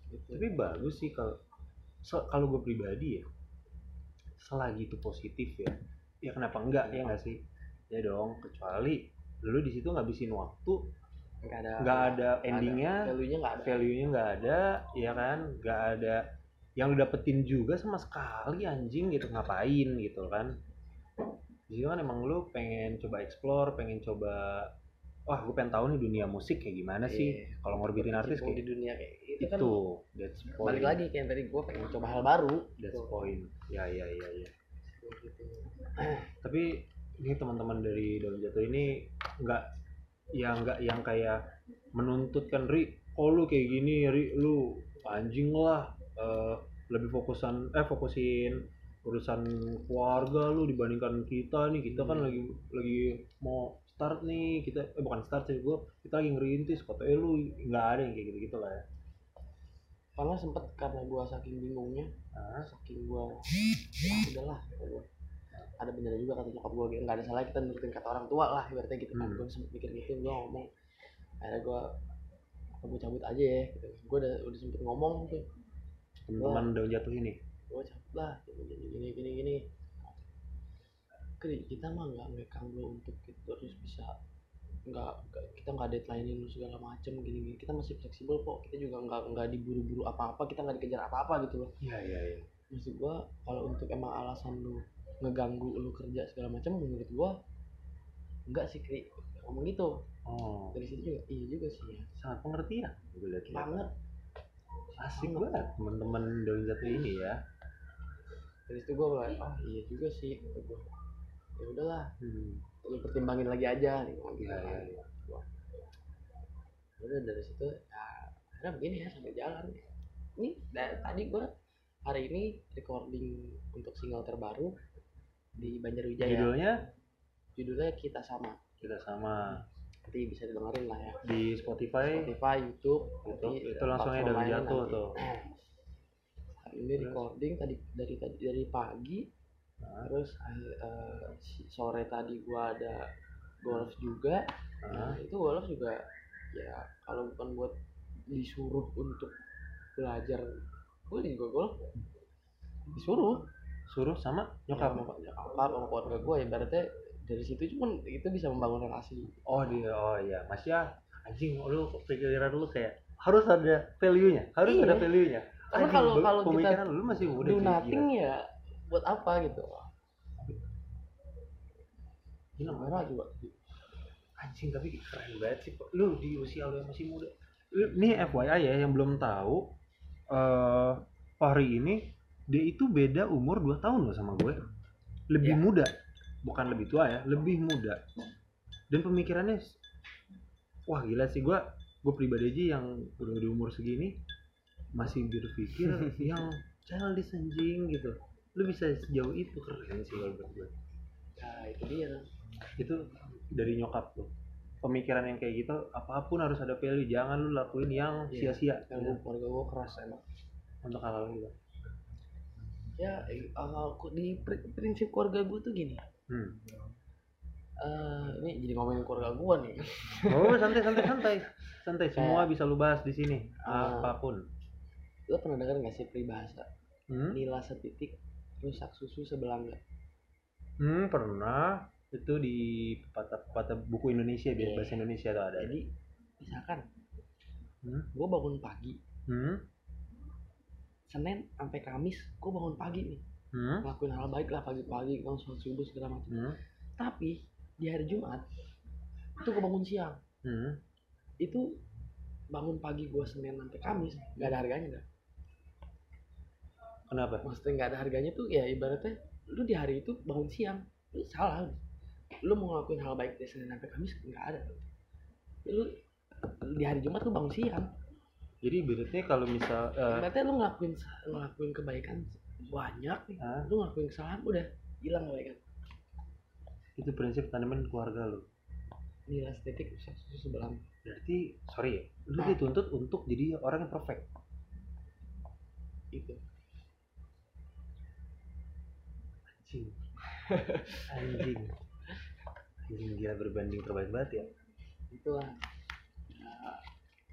Speaker 2: gitu.
Speaker 1: tapi bagus sih kalau se- kalau gue pribadi ya selagi itu positif ya ya kenapa enggak ya nggak sih ya dong kecuali lu di situ ngabisin waktu
Speaker 2: nggak ada
Speaker 1: nggak ada endingnya
Speaker 2: value-nya nggak ada
Speaker 1: value nya nggak ada ya kan nggak ada yang lu dapetin juga sama sekali anjing gitu ngapain gitu kan jadi kan emang lu pengen coba explore pengen coba wah gue pengen tahu nih dunia musik kayak gimana sih
Speaker 2: Iya.
Speaker 1: kalau ngorbitin artis
Speaker 2: Berkecimpung
Speaker 1: kayak
Speaker 2: di dunia kayak gitu
Speaker 1: itu
Speaker 2: kan
Speaker 1: that's point
Speaker 2: balik lagi kayak yang tadi gue pengen coba hal baru
Speaker 1: That's
Speaker 2: gitu.
Speaker 1: point. Ya ya ya ya.
Speaker 2: Gitu.
Speaker 1: Tapi ini teman-teman dari daun jatuh ini nggak ya nggak yang kayak menuntut kan ri oh lu kayak gini ri lu anjing lah Eh, lebih fokusan eh fokusin urusan keluarga lu dibandingkan kita nih kita kan
Speaker 2: Hmm.
Speaker 1: lagi lagi mau start nih kita eh bukan start sih gua kita lagi ngerintis kata eh lu nggak ada yang kayak gitu gitu lah ya
Speaker 2: karena sempet karena gue saking bingungnya
Speaker 1: Hah?
Speaker 2: saking gue ah, udahlah kata gua. ada bener juga kata nyokap gue nggak ada salah kita nurutin kata orang tua lah ibaratnya gitu kan
Speaker 1: Hmm.
Speaker 2: gue sempet mikir gitu gue ngomong akhirnya gue gue cabut aja ya gitu. gue udah udah sempet ngomong tuh
Speaker 1: teman-teman daun jatuh ini
Speaker 2: gue cabut Oh, lah gini gini gini gini, gini. Kri, kita mah nggak ngekang lo untuk kita terus bisa nggak nggak- kita nggak deadline lu segala macem gini gini kita masih fleksibel kok kita juga nggak nggak diburu-buru apa-apa kita nggak dikejar apa-apa gitu loh
Speaker 1: ya ya ya
Speaker 2: maksud gua kalau untuk emang alasan lu ngeganggu lu kerja segala macam menurut gua nggak sih kri ngomong gitu
Speaker 1: oh
Speaker 2: dari situ juga iya juga sih ya
Speaker 1: sangat pengertian gue lihat
Speaker 2: banget
Speaker 1: asik banget teman-teman daun jatuh ini ya
Speaker 2: dari situ gua kayak oh iya juga sih kata gua ya udahlah
Speaker 1: hmm.
Speaker 2: lu pertimbangin lagi aja nih ngomong gitu
Speaker 1: ya, ya,
Speaker 2: kan.
Speaker 1: ya.
Speaker 2: udah dari situ ya akhirnya begini ya sampai jalan ini da- tadi gue hari ini recording untuk single terbaru di Banjarwijaya
Speaker 1: judulnya
Speaker 2: judulnya kita sama
Speaker 1: kita sama
Speaker 2: nanti bisa didengerin lah ya
Speaker 1: di Spotify
Speaker 2: Spotify YouTube
Speaker 1: itu,
Speaker 2: nanti
Speaker 1: itu langsung aja
Speaker 2: platform
Speaker 1: daun
Speaker 2: lain
Speaker 1: jatuh
Speaker 2: nanti.
Speaker 1: tuh
Speaker 2: hari ini
Speaker 1: Terus?
Speaker 2: recording tadi dari tadi dari pagi
Speaker 1: Nah,
Speaker 2: terus ah, eh, si- sore tadi gua ada golf juga
Speaker 1: Ah,
Speaker 2: Nah, itu golf juga ya kalau bukan buat disuruh untuk belajar boleh gue golf disuruh
Speaker 1: suruh sama
Speaker 2: nyokap
Speaker 1: nyokap.
Speaker 2: nyokap sama keluarga gue ibaratnya dari situ cuman itu bisa membangun relasi
Speaker 1: Oh dia, oh iya, Mas ya, anjing lu pikiran lu kayak harus ada value-nya, harus
Speaker 2: Iya.
Speaker 1: ada value-nya.
Speaker 2: Karena
Speaker 1: Anjing,
Speaker 2: kalau-
Speaker 1: baru
Speaker 2: kalau kita
Speaker 1: pemikiran lu masih muda
Speaker 2: do
Speaker 1: cuy,
Speaker 2: nothing
Speaker 1: gila.
Speaker 2: ya buat apa gitu
Speaker 1: Gila, Mas.
Speaker 2: Gimana coba
Speaker 1: anjing tapi keren banget sih Pak. lu di usia lu yang masih muda Lu- ini FYI ya yang belum tahu eh Fahri ini dia itu beda umur 2 tahun loh sama gue lebih
Speaker 2: Ya.
Speaker 1: muda bukan lebih tua ya lebih muda dan pemikirannya s- wah gila sih gue gue pribadi aja yang udah di umur segini masih berpikir yang childish anjing gitu lu bisa sejauh itu keren sih kalau menurut gue
Speaker 2: nah itu dia
Speaker 1: itu dari nyokap tuh pemikiran yang kayak gitu apapun harus ada value jangan lu lakuin yang
Speaker 2: Iya.
Speaker 1: sia-sia
Speaker 2: yang gue keluarga gue keras emang
Speaker 1: untuk hal-hal gitu
Speaker 2: ya eh, aku di pri- prinsip keluarga gue tuh gini
Speaker 1: hmm.
Speaker 2: Eh ini jadi ngomongin keluarga gue nih
Speaker 1: oh santai santai santai santai semua bisa lu bahas di sini
Speaker 2: Ah.
Speaker 1: apapun
Speaker 2: lo pernah dengar nggak sih peribahasa
Speaker 1: hmm?
Speaker 2: nila setitik rusak susu sebelanga
Speaker 1: hmm pernah itu di pepatah-pepatah buku Indonesia biar
Speaker 2: Iya.
Speaker 1: bahasa Indonesia tuh ada
Speaker 2: jadi misalkan
Speaker 1: hmm?
Speaker 2: gue bangun pagi
Speaker 1: Hmm?
Speaker 2: senin sampai kamis gue bangun pagi nih
Speaker 1: Hmm?
Speaker 2: ngelakuin hal baik lah pagi-pagi kita sholat subuh segala macam
Speaker 1: Hmm?
Speaker 2: tapi di hari jumat itu gue bangun siang
Speaker 1: Hmm?
Speaker 2: itu bangun pagi gue senin sampai kamis nggak ada harganya dah.
Speaker 1: kenapa
Speaker 2: maksudnya nggak ada harganya tuh ya ibaratnya lu di hari itu bangun siang lu salah lu mau ngelakuin hal baik dari senin sampai kamis nggak ada lu di hari jumat lu bangun siang
Speaker 1: jadi ibaratnya kalau misal eh,
Speaker 2: berarti lu ngelakuin ngelakuin kebaikan banyak nih
Speaker 1: ah,
Speaker 2: lu ngelakuin kesalahan udah hilang kebaikan
Speaker 1: itu prinsip tanaman keluarga lu
Speaker 2: nilai estetik rusak susu sebelah
Speaker 1: berarti sorry ya lu
Speaker 2: Ah.
Speaker 1: dituntut untuk jadi orang yang perfect
Speaker 2: itu
Speaker 1: anjing anjing anjing gila berbanding terbaik banget ya
Speaker 2: itulah Ya,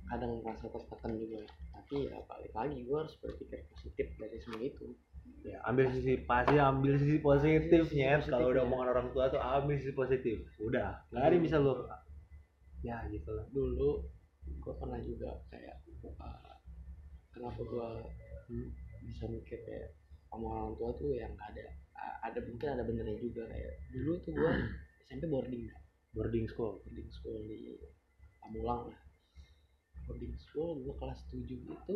Speaker 2: kadang merasa tertekan juga tapi ya balik lagi gue harus berpikir positif dari semua itu
Speaker 1: ya ambil sisi pasti ambil sisi positifnya
Speaker 2: Sisi ya.
Speaker 1: kalau udah
Speaker 2: positifnya.
Speaker 1: omongan orang tua tuh ambil sisi positif udah nggak ada yang bisa lo ya gitu lah
Speaker 2: dulu gue pernah juga kayak uh, kenapa gue
Speaker 1: Hmm.
Speaker 2: bisa mikir kayak omongan orang tua tuh yang nggak ada uh, ada mungkin ada benernya juga kayak dulu tuh gue SMP boarding
Speaker 1: boarding school
Speaker 2: boarding school di Pamulang lah boarding school gue kelas 7 itu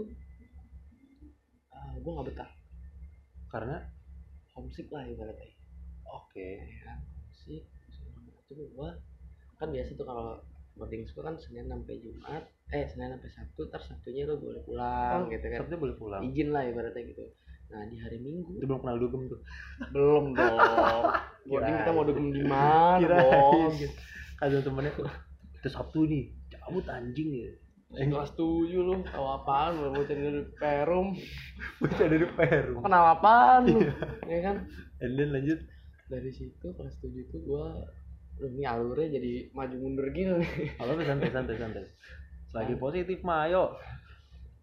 Speaker 2: uh, gue nggak betah
Speaker 1: karena
Speaker 2: homesick lah ibaratnya
Speaker 1: oke
Speaker 2: kayak homesick Iya, itu gue kan biasa tuh kalau boarding school kan Senin sampai Jumat eh Senin sampai Sabtu terus Sabtunya lo boleh pulang gitu kan
Speaker 1: Sabtu boleh pulang
Speaker 2: izin lah ibaratnya gitu nah di hari
Speaker 1: itu
Speaker 2: Minggu
Speaker 1: belum kenal dugem tuh
Speaker 2: belum dong boarding kita mau dugem di mana
Speaker 1: kirain
Speaker 2: Kan, bos
Speaker 1: gitu. ada temennya tuh itu Sabtu nih cabut anjing ya
Speaker 2: Eh, kelas tujuh lu tahu apaan lu mau cari dari perum
Speaker 1: udah dari Peru
Speaker 2: kenal apaan lu ya kan
Speaker 1: and then lanjut
Speaker 2: dari situ kelas tujuh tuh gua Duh, ini alurnya jadi maju mundur gini nih.
Speaker 1: apa apa, santai santai santai lagi positif mah ayo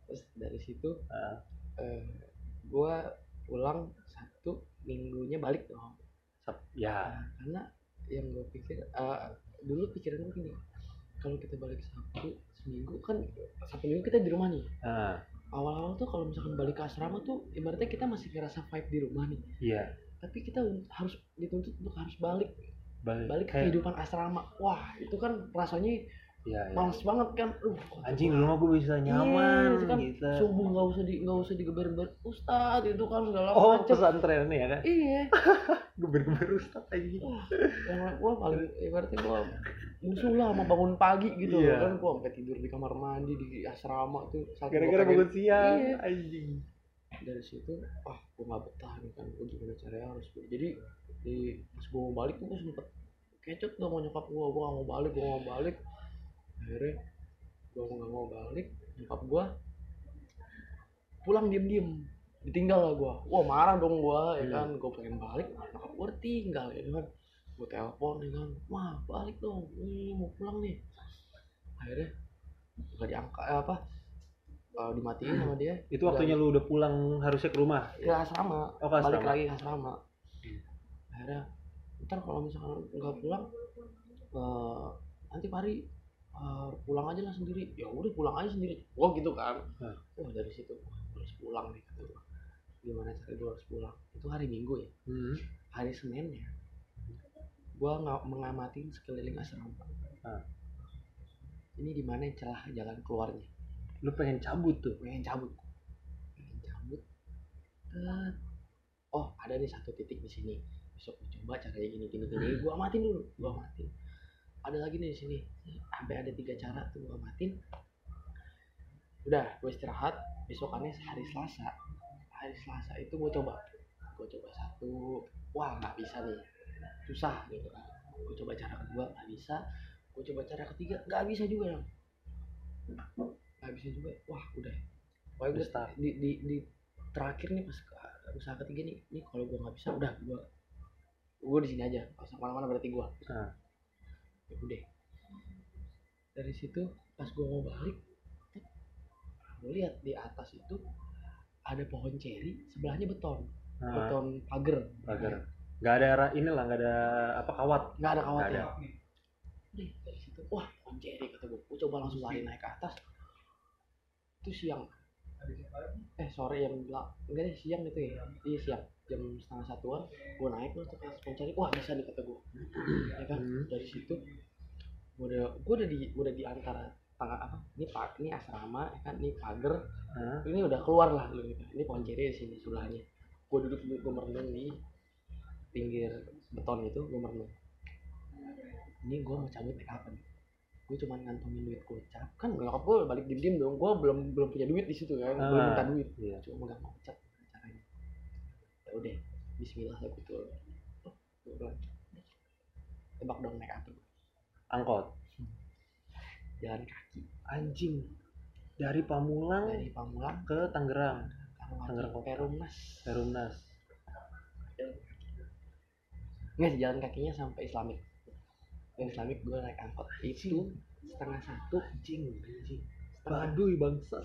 Speaker 2: terus dari situ
Speaker 1: Ah.
Speaker 2: eh, gua pulang Sabtu minggunya balik dong
Speaker 1: Sab- ya
Speaker 2: Nah, karena yang gue pikir eh, dulu pikiran gue gini kalau kita balik Sabtu seminggu kan Sabtu minggu kita di rumah nih
Speaker 1: ah
Speaker 2: awal-awal tuh kalau misalkan balik ke asrama tuh ibaratnya kita masih ngerasa vibe di rumah nih
Speaker 1: iya
Speaker 2: tapi kita un- harus dituntut untuk harus balik
Speaker 1: balik,
Speaker 2: balik ke
Speaker 1: Kayak-
Speaker 2: kehidupan asrama wah itu kan rasanya
Speaker 1: Iya, iya.
Speaker 2: males banget kan uh,
Speaker 1: anjing dulu mah gue bisa nyaman
Speaker 2: Iya, itu kan
Speaker 1: gitu
Speaker 2: subuh nggak usah di nggak usah digeber-geber ustad itu kan segala
Speaker 1: oh
Speaker 2: macam
Speaker 1: pesantren ya kan
Speaker 2: iya
Speaker 1: geber-geber ustaz anjing
Speaker 2: yang gue paling ibaratnya gue musuh lah sama bangun pagi gitu
Speaker 1: Iya.
Speaker 2: kan gue sampai tidur di kamar mandi di asrama tuh saking gua
Speaker 1: gara-gara bangun
Speaker 2: pengen-
Speaker 1: siang
Speaker 2: Iya.
Speaker 1: anjing
Speaker 2: dari situ ah gue nggak betah nih kan gue gimana caranya harus gua- jadi di pas gue mau balik tuh gue sempet kecot gak mau nyokap gue gue gak mau balik gue gak mau balik akhirnya gue gak mau balik nyokap gue pulang diem diem ditinggal lah gue wah marah dong gue
Speaker 1: Hmm.
Speaker 2: ya ah, kan gue pengen balik nyokap gue tinggal ya kan gue telepon nih kan wah balik dong ini mau pulang nih akhirnya nggak diangkat eh, apa eh, dimatiin sama dia
Speaker 1: itu waktunya lu udah pulang harusnya ke rumah
Speaker 2: ya asrama
Speaker 1: oh ke
Speaker 2: balik
Speaker 1: asrama.
Speaker 2: lagi ke asrama akhirnya ntar kalau misalkan nggak pulang eh, nanti Pari eh, pulang aja lah sendiri ya udah pulang aja sendiri gua gitu kan
Speaker 1: Hmm.
Speaker 2: wah dari situ wah, gua harus pulang nih kata gua. gimana cara gua harus pulang itu hari minggu ya
Speaker 1: Hmm.
Speaker 2: hari Seninnya gua nggak mengamati sekeliling asrama
Speaker 1: Hmm.
Speaker 2: ini di mana celah jalan keluarnya
Speaker 1: lu pengen cabut tuh
Speaker 2: pengen cabut pengen cabut Tet. oh ada nih satu titik di sini besok gua coba caranya gini gini gini gua amatin dulu gua amatin ada lagi nih di sini sampai ada tiga cara tuh gua amatin udah gua istirahat besokannya hari selasa hari selasa itu gua coba gua coba satu wah nggak bisa nih susah gitu kan gua coba cara kedua nggak bisa gua coba cara ketiga nggak bisa juga yang nggak bisa juga wah udah Pokoknya
Speaker 1: Udah
Speaker 2: gua
Speaker 1: stuck.
Speaker 2: di, di, di terakhir nih pas ke- usaha ketiga nih nih kalau gua nggak bisa udah gua gua di sini aja pas mana-mana berarti gua
Speaker 1: Ah.
Speaker 2: ya udah dari situ pas gua mau balik gue lihat di atas itu ada pohon ceri sebelahnya beton
Speaker 1: Ah,
Speaker 2: beton pagar
Speaker 1: pagar nggak ada ra- inilah nggak ada apa kawat
Speaker 2: nggak ada
Speaker 1: Nggak
Speaker 2: kawatnya
Speaker 1: ada.
Speaker 2: Nih, dari situ wah pohon ceri kata gue gue coba langsung lari naik ke atas itu siang eh sore jam bela- enggak deh siang itu ya iya siang jam setengah satuan gue naik lah tuh ke atas pohon ceri wah bisa nih kata gue ya kan
Speaker 1: Hmm.
Speaker 2: dari situ gue udah gue udah di gua udah di antara tangga apa ini pak ini asrama ya kan ini pagar
Speaker 1: Ah,
Speaker 2: ini udah keluar lah lu gitu. ini pohon ceri di sini sebelahnya gue duduk dulu gue merenung di pinggir beton itu gue merenung ini gue mau cabut naik apa nih gue cuma ngantongin duit gocap kan nyokap gue balik diem diem dong gue belum belum punya duit di situ kan belum
Speaker 1: Ah.
Speaker 2: minta duit
Speaker 1: iya.
Speaker 2: cuma megang gocap caranya ya udah Bismillah lah gitu Oh, gua bilang, tebak dong naik apa
Speaker 1: angkot
Speaker 2: jalan kaki
Speaker 1: anjing dari Pamulang
Speaker 2: dari Pamulang
Speaker 1: ke Tangerang Tangerang
Speaker 2: ke
Speaker 1: Kota.
Speaker 2: Perumnas
Speaker 1: Perumnas
Speaker 2: Nggak sih, jalan kakinya sampai Islamic. Dari Islamic gue naik angkot. Itu setengah satu.
Speaker 1: anjing anjing
Speaker 2: Setengah
Speaker 1: Baduy bangsa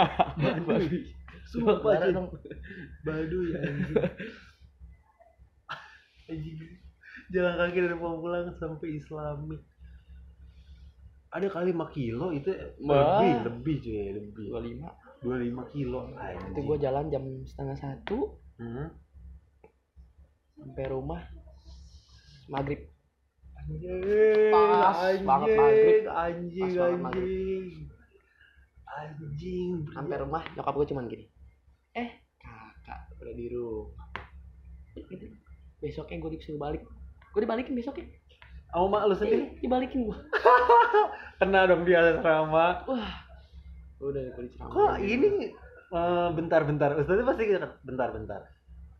Speaker 2: Baduy.
Speaker 1: Sumpah,
Speaker 2: Parah
Speaker 1: Jin.
Speaker 2: dong.
Speaker 1: Baduy anjing anjing jalan kaki dari Pamulang sampai Islami ada kali 5 kilo itu eh,
Speaker 2: Wah.
Speaker 1: lebih lebih cuy lebih
Speaker 2: 25.
Speaker 1: 25 kilo anjing
Speaker 2: Itu gue jalan jam setengah satu.
Speaker 1: Hmm.
Speaker 2: Sampai rumah. Maghrib.
Speaker 1: Anjing,
Speaker 2: Pas
Speaker 1: anjing,
Speaker 2: banget maghrib.
Speaker 1: Anjing,
Speaker 2: Pas banget
Speaker 1: anjing. Anjing. bro.
Speaker 2: Sampai rumah nyokap gue cuman gini. Eh kakak udah di rumah. Gitu. Besoknya gue disuruh balik. Gue dibalikin besoknya.
Speaker 1: Sama mak lu sendiri
Speaker 2: Iya, dibalikin gue.
Speaker 1: kena dong di asrama.
Speaker 2: Wah. Udah gue diceramahin.
Speaker 1: Kok ini eh, bentar-bentar. Ustaznya pasti kata, bentar-bentar.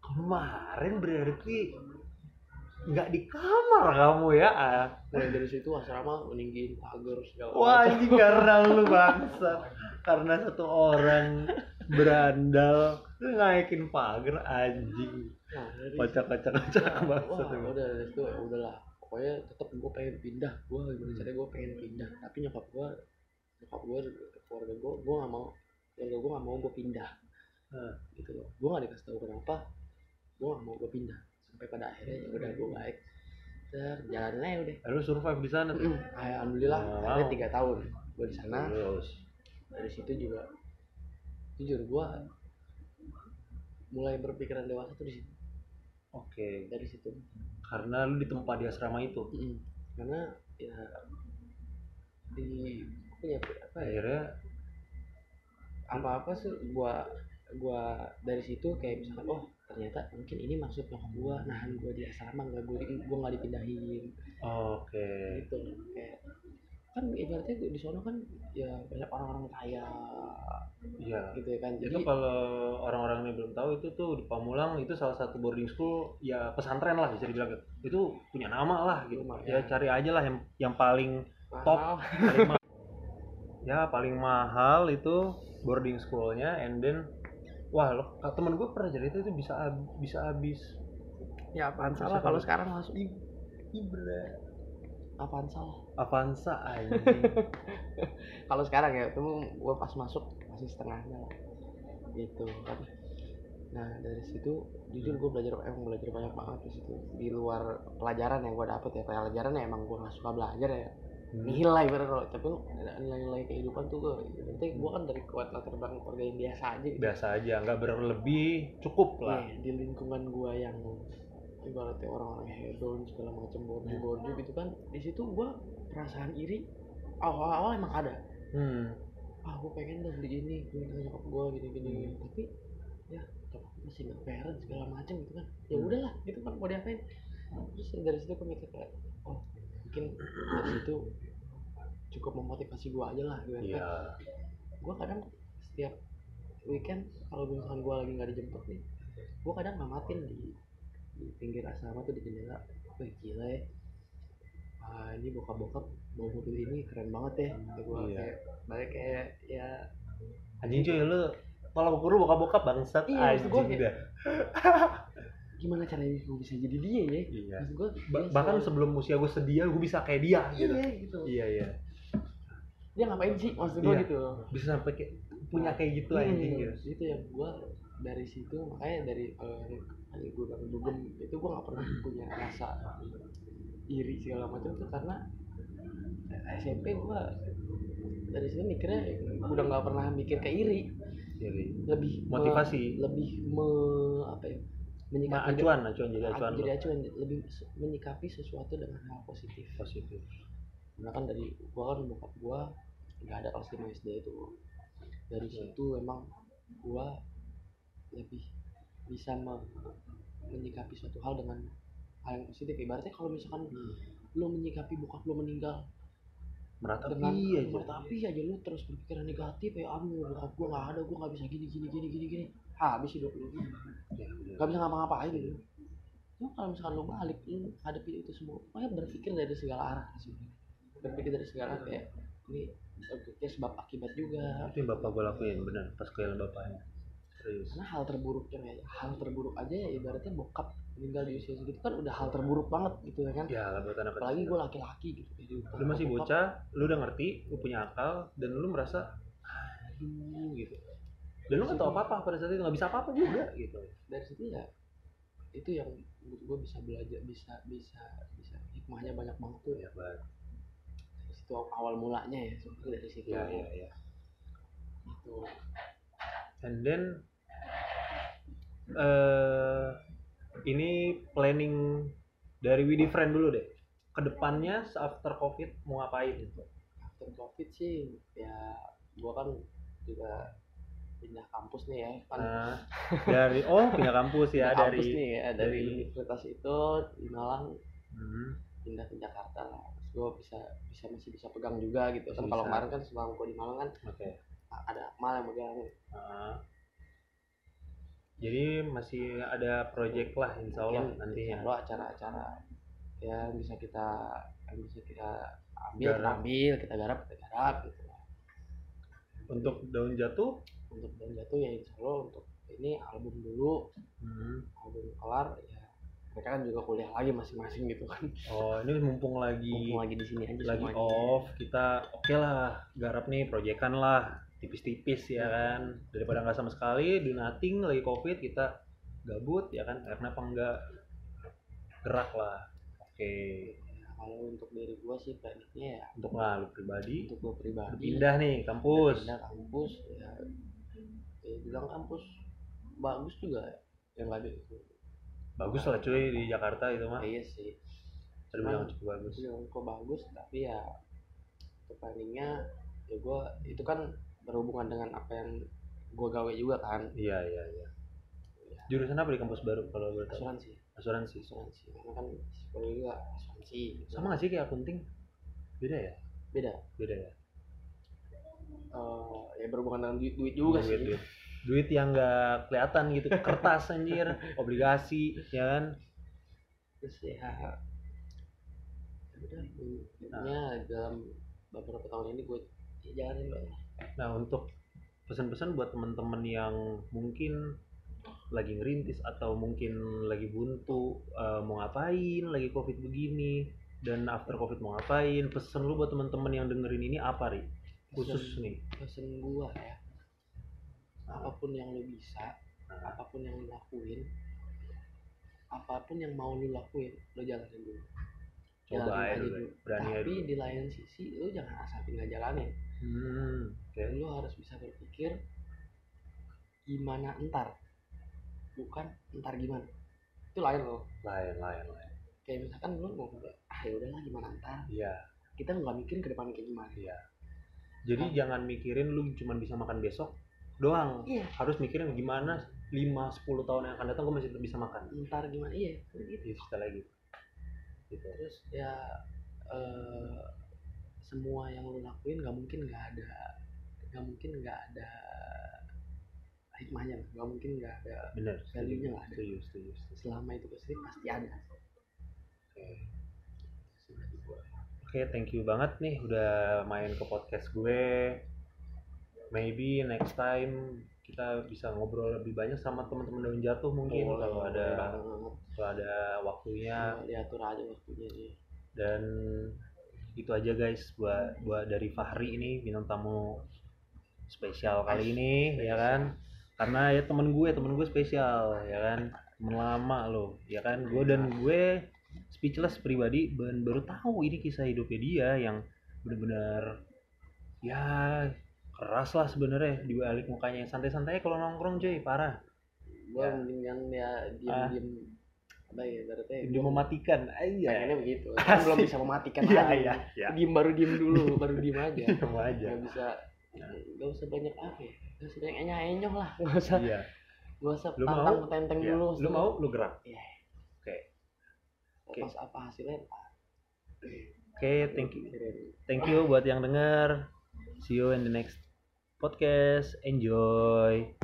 Speaker 1: Kemarin berarti nggak di kamar kamu ya? ah.
Speaker 2: Mulai dari situ asrama meninggiin pagar segala
Speaker 1: Wah,
Speaker 2: macam.
Speaker 1: anjing karena lu bangsat. Karena satu orang berandal lu naikin pagar anjing.
Speaker 2: Nah, dari
Speaker 1: kocak kocak kocak
Speaker 2: wah
Speaker 1: bangsat emang.
Speaker 2: udah dari situ ya udahlah pokoknya tetap gue pengen pindah gue gimana caranya gue pengen pindah tapi nyokap gue nyokap gue keluarga gue gue gak mau keluarga gue gak mau gue pindah
Speaker 1: Hmm.
Speaker 2: gitu loh gue gak dikasih tahu kenapa gue gak mau gue pindah sampai pada akhirnya ya udah gue baik terjalan aja udah
Speaker 1: lu survive di sana tuh.
Speaker 2: alhamdulillah
Speaker 1: Wow.
Speaker 2: akhirnya tiga tahun gue di sana
Speaker 1: Terus.
Speaker 2: dari situ juga jujur gue mulai berpikiran dewasa tuh di situ
Speaker 1: Oke,
Speaker 2: dari situ
Speaker 1: karena lu ditempa di asrama itu.
Speaker 2: Mm. karena ya di punya apa ya
Speaker 1: Akhirnya
Speaker 2: apa apa sih gua gua dari situ kayak misalkan oh ternyata mungkin ini maksud nyokap gua nahan gua di asrama nggak gua di- gua nggak dipindahin
Speaker 1: oke.
Speaker 2: gitu kayak kan ibaratnya gua di sono kan ya banyak orang-orang kaya
Speaker 1: Iya.
Speaker 2: gitu ya kan jadi
Speaker 1: Itu kalau orang-orang ini belum tahu itu tuh di Pamulang itu salah satu boarding school ya pesantren lah bisa dibilang gitu. Itu punya nama lah gitu. Ya
Speaker 2: Lumayan.
Speaker 1: cari aja lah yang yang paling
Speaker 2: mahal.
Speaker 1: top. paling ma- ya paling mahal itu boarding schoolnya and then wah lo temen gue pernah cerita itu bisa ab- bisa habis
Speaker 2: ya apaan
Speaker 1: Susah
Speaker 2: salah
Speaker 1: banget.
Speaker 2: kalau sekarang langsung
Speaker 1: Ibra
Speaker 2: apaan salah
Speaker 1: Avanza anjing
Speaker 2: kalau sekarang ya itu gue pas masuk masih setengahnya lah gitu kan nah dari situ jujur gue belajar emang belajar banyak banget di situ di luar pelajaran yang gue dapet ya pelajaran ya emang gue gak suka belajar ya
Speaker 1: Hmm. Iya,
Speaker 2: nihil lah ibarat kalau tapi nilai-nilai kehidupan tuh gue berarti gue kan dari kuat latar belakang keluarga yang biasa aja gitu.
Speaker 1: biasa aja nggak berlebih cukup
Speaker 2: Iya,
Speaker 1: lah
Speaker 2: di lingkungan gua yang ibaratnya orang-orang hedon segala macam borju borju gitu kan di situ gua perasaan iri awal-awal emang ada
Speaker 1: hmm.
Speaker 2: ah gua pengen dong beli ini gua pengen nyokap gua gini gini
Speaker 1: Hmm.
Speaker 2: gini. tapi ya nyokap gua masih nggak parent segala macam gitu kan ya
Speaker 1: Hmm.
Speaker 2: udahlah gitu kan mau diapain terus dari situ gua mikir kayak oh mungkin dari situ cukup memotivasi gua aja lah gitu kan
Speaker 1: iya
Speaker 2: gue kadang setiap weekend kalau misalkan gue lagi nggak dijemput nih gue kadang ngamatin di di pinggir asrama tuh di jendela wah gila ya ah, ini bokap-bokap bawa mobil ini keren banget ya gue
Speaker 1: Iya.
Speaker 2: kayak balik kayak ya
Speaker 1: anjing cuy lu kalau guru bokap-bokap bangsat
Speaker 2: Iya, maksud
Speaker 1: anjing
Speaker 2: gua kayak-
Speaker 1: dah
Speaker 2: gimana caranya gue bisa jadi dia ya
Speaker 1: iya
Speaker 2: maksud gue
Speaker 1: Ba- bahkan sebelum usia gue sedia gue bisa kayak dia gitu
Speaker 2: iya gitu
Speaker 1: iya iya
Speaker 2: dia ngapain sih maksud gue
Speaker 1: Iya.
Speaker 2: gitu
Speaker 1: bisa sampai kayak punya kayak gitu anjing gitu
Speaker 2: Hmm, itu yang gue dari situ makanya dari eh, dari gue bilang dugem itu gue nggak pernah punya rasa iri segala macam tuh karena eh, SMP gue dari situ mikirnya udah nggak pernah mikir ke iri
Speaker 1: jadi
Speaker 2: lebih me-
Speaker 1: motivasi
Speaker 2: lebih me apa ya
Speaker 1: nah,
Speaker 2: menyikapi
Speaker 1: acuan acuan jadi acuan
Speaker 2: jadi
Speaker 1: lu.
Speaker 2: acuan lebih se- menyikapi sesuatu dengan hal positif
Speaker 1: positif
Speaker 2: karena kan dari gua kan bokap gua nggak ada kelas 5 SD itu dari
Speaker 1: Iya.
Speaker 2: situ emang gua lebih bisa me- menyikapi suatu hal dengan hal yang positif ibaratnya kalau misalkan
Speaker 1: Hmm.
Speaker 2: lo menyikapi bokap lo meninggal
Speaker 1: meratapi
Speaker 2: dengan
Speaker 1: aja
Speaker 2: tapi aja lo terus berpikiran negatif ya aduh bokap gua nggak ada gua nggak bisa gini gini gini gini gini habis hidup lo
Speaker 1: Ya, bener.
Speaker 2: nggak bisa ngapa-ngapain gitu Cuma kalau misalkan lo balik lo hadapi itu semua pokoknya berpikir dari segala arah sih berpikir dari segala arah kayak ini berpikir sebab akibat juga
Speaker 1: itu yang bapak gue lakuin bener pas kehilangan bapaknya serius
Speaker 2: karena hal terburuk yang ya, hal terburuk aja ya ibaratnya bokap meninggal di usia segitu kan udah hal terburuk banget gitu ya kan
Speaker 1: ya lah buat anak
Speaker 2: apalagi
Speaker 1: kecil
Speaker 2: gue laki-laki gitu jadi
Speaker 1: lu masih
Speaker 2: bokap-
Speaker 1: bocah lu udah ngerti lu punya akal dan lu merasa aduh gitu dan lu nggak tahu apa apa pada saat itu nggak bisa apa apa juga gitu
Speaker 2: dari situ ya itu yang gue bisa belajar bisa bisa bisa hikmahnya banyak banget tuh ya
Speaker 1: ya banget
Speaker 2: dari situ awal mulanya ya sebenarnya dari situ
Speaker 1: ya ya ya
Speaker 2: gitu
Speaker 1: and then eh ini planning dari Widi Friend dulu deh kedepannya after covid mau ngapain gitu
Speaker 2: after covid sih ya gua kan juga pindah kampus nih ya kan
Speaker 1: Nah, dari oh punya kampus ya
Speaker 2: pindah kampus
Speaker 1: dari
Speaker 2: nih ya dari
Speaker 1: dari-
Speaker 2: universitas itu di Malang
Speaker 1: Hmm,
Speaker 2: pindah ke Jakarta lah terus gua bisa bisa masih bisa pegang juga gitu kan
Speaker 1: Masih
Speaker 2: kalau
Speaker 1: bisa.
Speaker 2: kemarin kan selama gua di Malang kan
Speaker 1: oke
Speaker 2: a- ada Akmal yang pegang
Speaker 1: Ah. jadi masih ada project lah insya Allah ya.
Speaker 2: Mungkin
Speaker 1: nantinya
Speaker 2: kalau acara-acara ya, yang bisa kita yang bisa kita ambil kita
Speaker 1: Garap.
Speaker 2: ambil kita garap kita garap gitu
Speaker 1: untuk daun jatuh
Speaker 2: untuk dan jatuh ya insya Allah untuk ini album dulu
Speaker 1: hmm,
Speaker 2: album kelar ya mereka kan juga kuliah lagi masing-masing gitu kan
Speaker 1: oh ini mumpung lagi
Speaker 2: mumpung lagi di sini aja
Speaker 1: lagi oh.
Speaker 2: semuanya.
Speaker 1: off kita oke lah garap nih proyekan lah tipis-tipis ya
Speaker 2: Iya.
Speaker 1: kan daripada nggak sama sekali do nothing lagi covid kita gabut ya kan karena apa enggak gerak lah oke
Speaker 2: kalau untuk diri gua sih planningnya ya
Speaker 1: untuk lah lu pribadi
Speaker 2: untuk gua
Speaker 1: lu
Speaker 2: pribadi ya.
Speaker 1: pindah nih kampus
Speaker 2: pindah kampus ya, ya bilang kampus bagus juga ya, yang nggak ada
Speaker 1: bagus lah cuy di Jakarta itu mah
Speaker 2: Ya, iya sih
Speaker 1: terbilang cukup bagus
Speaker 2: bilang kok bagus tapi ya untuk planningnya ya gua itu kan berhubungan dengan apa yang gua gawe juga kan
Speaker 1: Iya iya iya. Jurusan apa di kampus baru kalau boleh tahu?
Speaker 2: asuransi
Speaker 1: Asuransi.
Speaker 2: asuransi karena kan sekolah juga asuransi gitu.
Speaker 1: Sama nggak sih kayak akunting? Beda ya?
Speaker 2: beda
Speaker 1: Beda ya.
Speaker 2: Eh, ya berhubungan dengan duit, duit juga sih
Speaker 1: duit, duit. Duit yang nggak kelihatan gitu, kertas anjir, obligasi, ya kan?
Speaker 2: terus ya udah intinya
Speaker 1: Nah.
Speaker 2: dalam beberapa tahun ini gue ya, jalanin lah
Speaker 1: Nah untuk pesan-pesan buat teman-teman yang mungkin lagi ngerintis atau mungkin lagi buntu eh, mau ngapain lagi covid begini dan after covid mau ngapain pesen lu buat teman-teman yang dengerin ini apa ri khusus Nah. nih
Speaker 2: pesen gua ya apapun yang lu bisa
Speaker 1: Nah.
Speaker 2: apapun yang lu lakuin apapun yang mau lu lakuin lu jalanin dulu
Speaker 1: coba
Speaker 2: Jalanin
Speaker 1: aja
Speaker 2: aja
Speaker 1: dulu
Speaker 2: dulu.
Speaker 1: berani aja
Speaker 2: tapi
Speaker 1: ya dulu
Speaker 2: di lain sisi lu jangan asapin nggak jalanin
Speaker 1: hmm, oke
Speaker 2: dan lu harus bisa berpikir gimana entar bukan entar gimana itu lain loh
Speaker 1: lain lain lain
Speaker 2: kayak misalkan lu mau ah ya udahlah gimana entar
Speaker 1: iya
Speaker 2: kita nggak mikirin ke depan kayak gimana
Speaker 1: iya jadi
Speaker 2: Nah.
Speaker 1: jangan mikirin lu cuman bisa makan besok doang
Speaker 2: iya
Speaker 1: harus mikirin gimana 5-10 tahun yang akan datang gue masih tetap bisa makan
Speaker 2: entar gimana iya gitu.
Speaker 1: itu sekali lagi gitu
Speaker 2: terus ya eh, semua yang lu lakuin nggak mungkin nggak ada nggak mungkin nggak ada hikmahnya nggak mungkin nggak ada
Speaker 1: bener
Speaker 2: Value-nya
Speaker 1: setuju
Speaker 2: nggak ada.
Speaker 1: setuju setuju setuju.
Speaker 2: selama itu kesini pasti ada
Speaker 1: Oke, thank you banget nih udah main ke podcast gue. Maybe next time kita bisa ngobrol lebih banyak sama teman-teman daun jatuh mungkin kalau ada Ya.
Speaker 2: Boleh
Speaker 1: kalau ada waktunya
Speaker 2: banget. diatur ya aja waktunya sih
Speaker 1: dan itu aja guys buat buat dari Fahri ini bintang tamu spesial kali ini ya kan karena ya temen gue temen gue spesial ya kan temen lama loh ya kan gue dan gue speechless pribadi ben- baru tahu ini kisah hidupnya dia yang bener-bener ya keras lah sebenarnya di balik mukanya yang santai-santai kalau nongkrong cuy parah
Speaker 2: gua
Speaker 1: Ya.
Speaker 2: mendingan ya diem
Speaker 1: Ah.
Speaker 2: diem apa ya ibaratnya
Speaker 1: dia mematikan iya
Speaker 2: pengennya begitu kan belum
Speaker 1: Asik.
Speaker 2: bisa mematikan
Speaker 1: iya
Speaker 2: aja
Speaker 1: iya iya
Speaker 2: diem baru diem dulu baru diem aja
Speaker 1: Sama aja
Speaker 2: nggak bisa
Speaker 1: Iya.
Speaker 2: nggak usah banyak apa ya nggak usah banyak enyah enyong lah nggak usah
Speaker 1: iya
Speaker 2: nggak usah
Speaker 1: Lu mau?
Speaker 2: tantang tenteng
Speaker 1: Iya.
Speaker 2: dulu
Speaker 1: lu mau lu gerak
Speaker 2: Oke. Pas apa hasilnya ntar.
Speaker 1: oke thank you
Speaker 2: Pikirin.
Speaker 1: thank you buat yang denger see you in the next podcast enjoy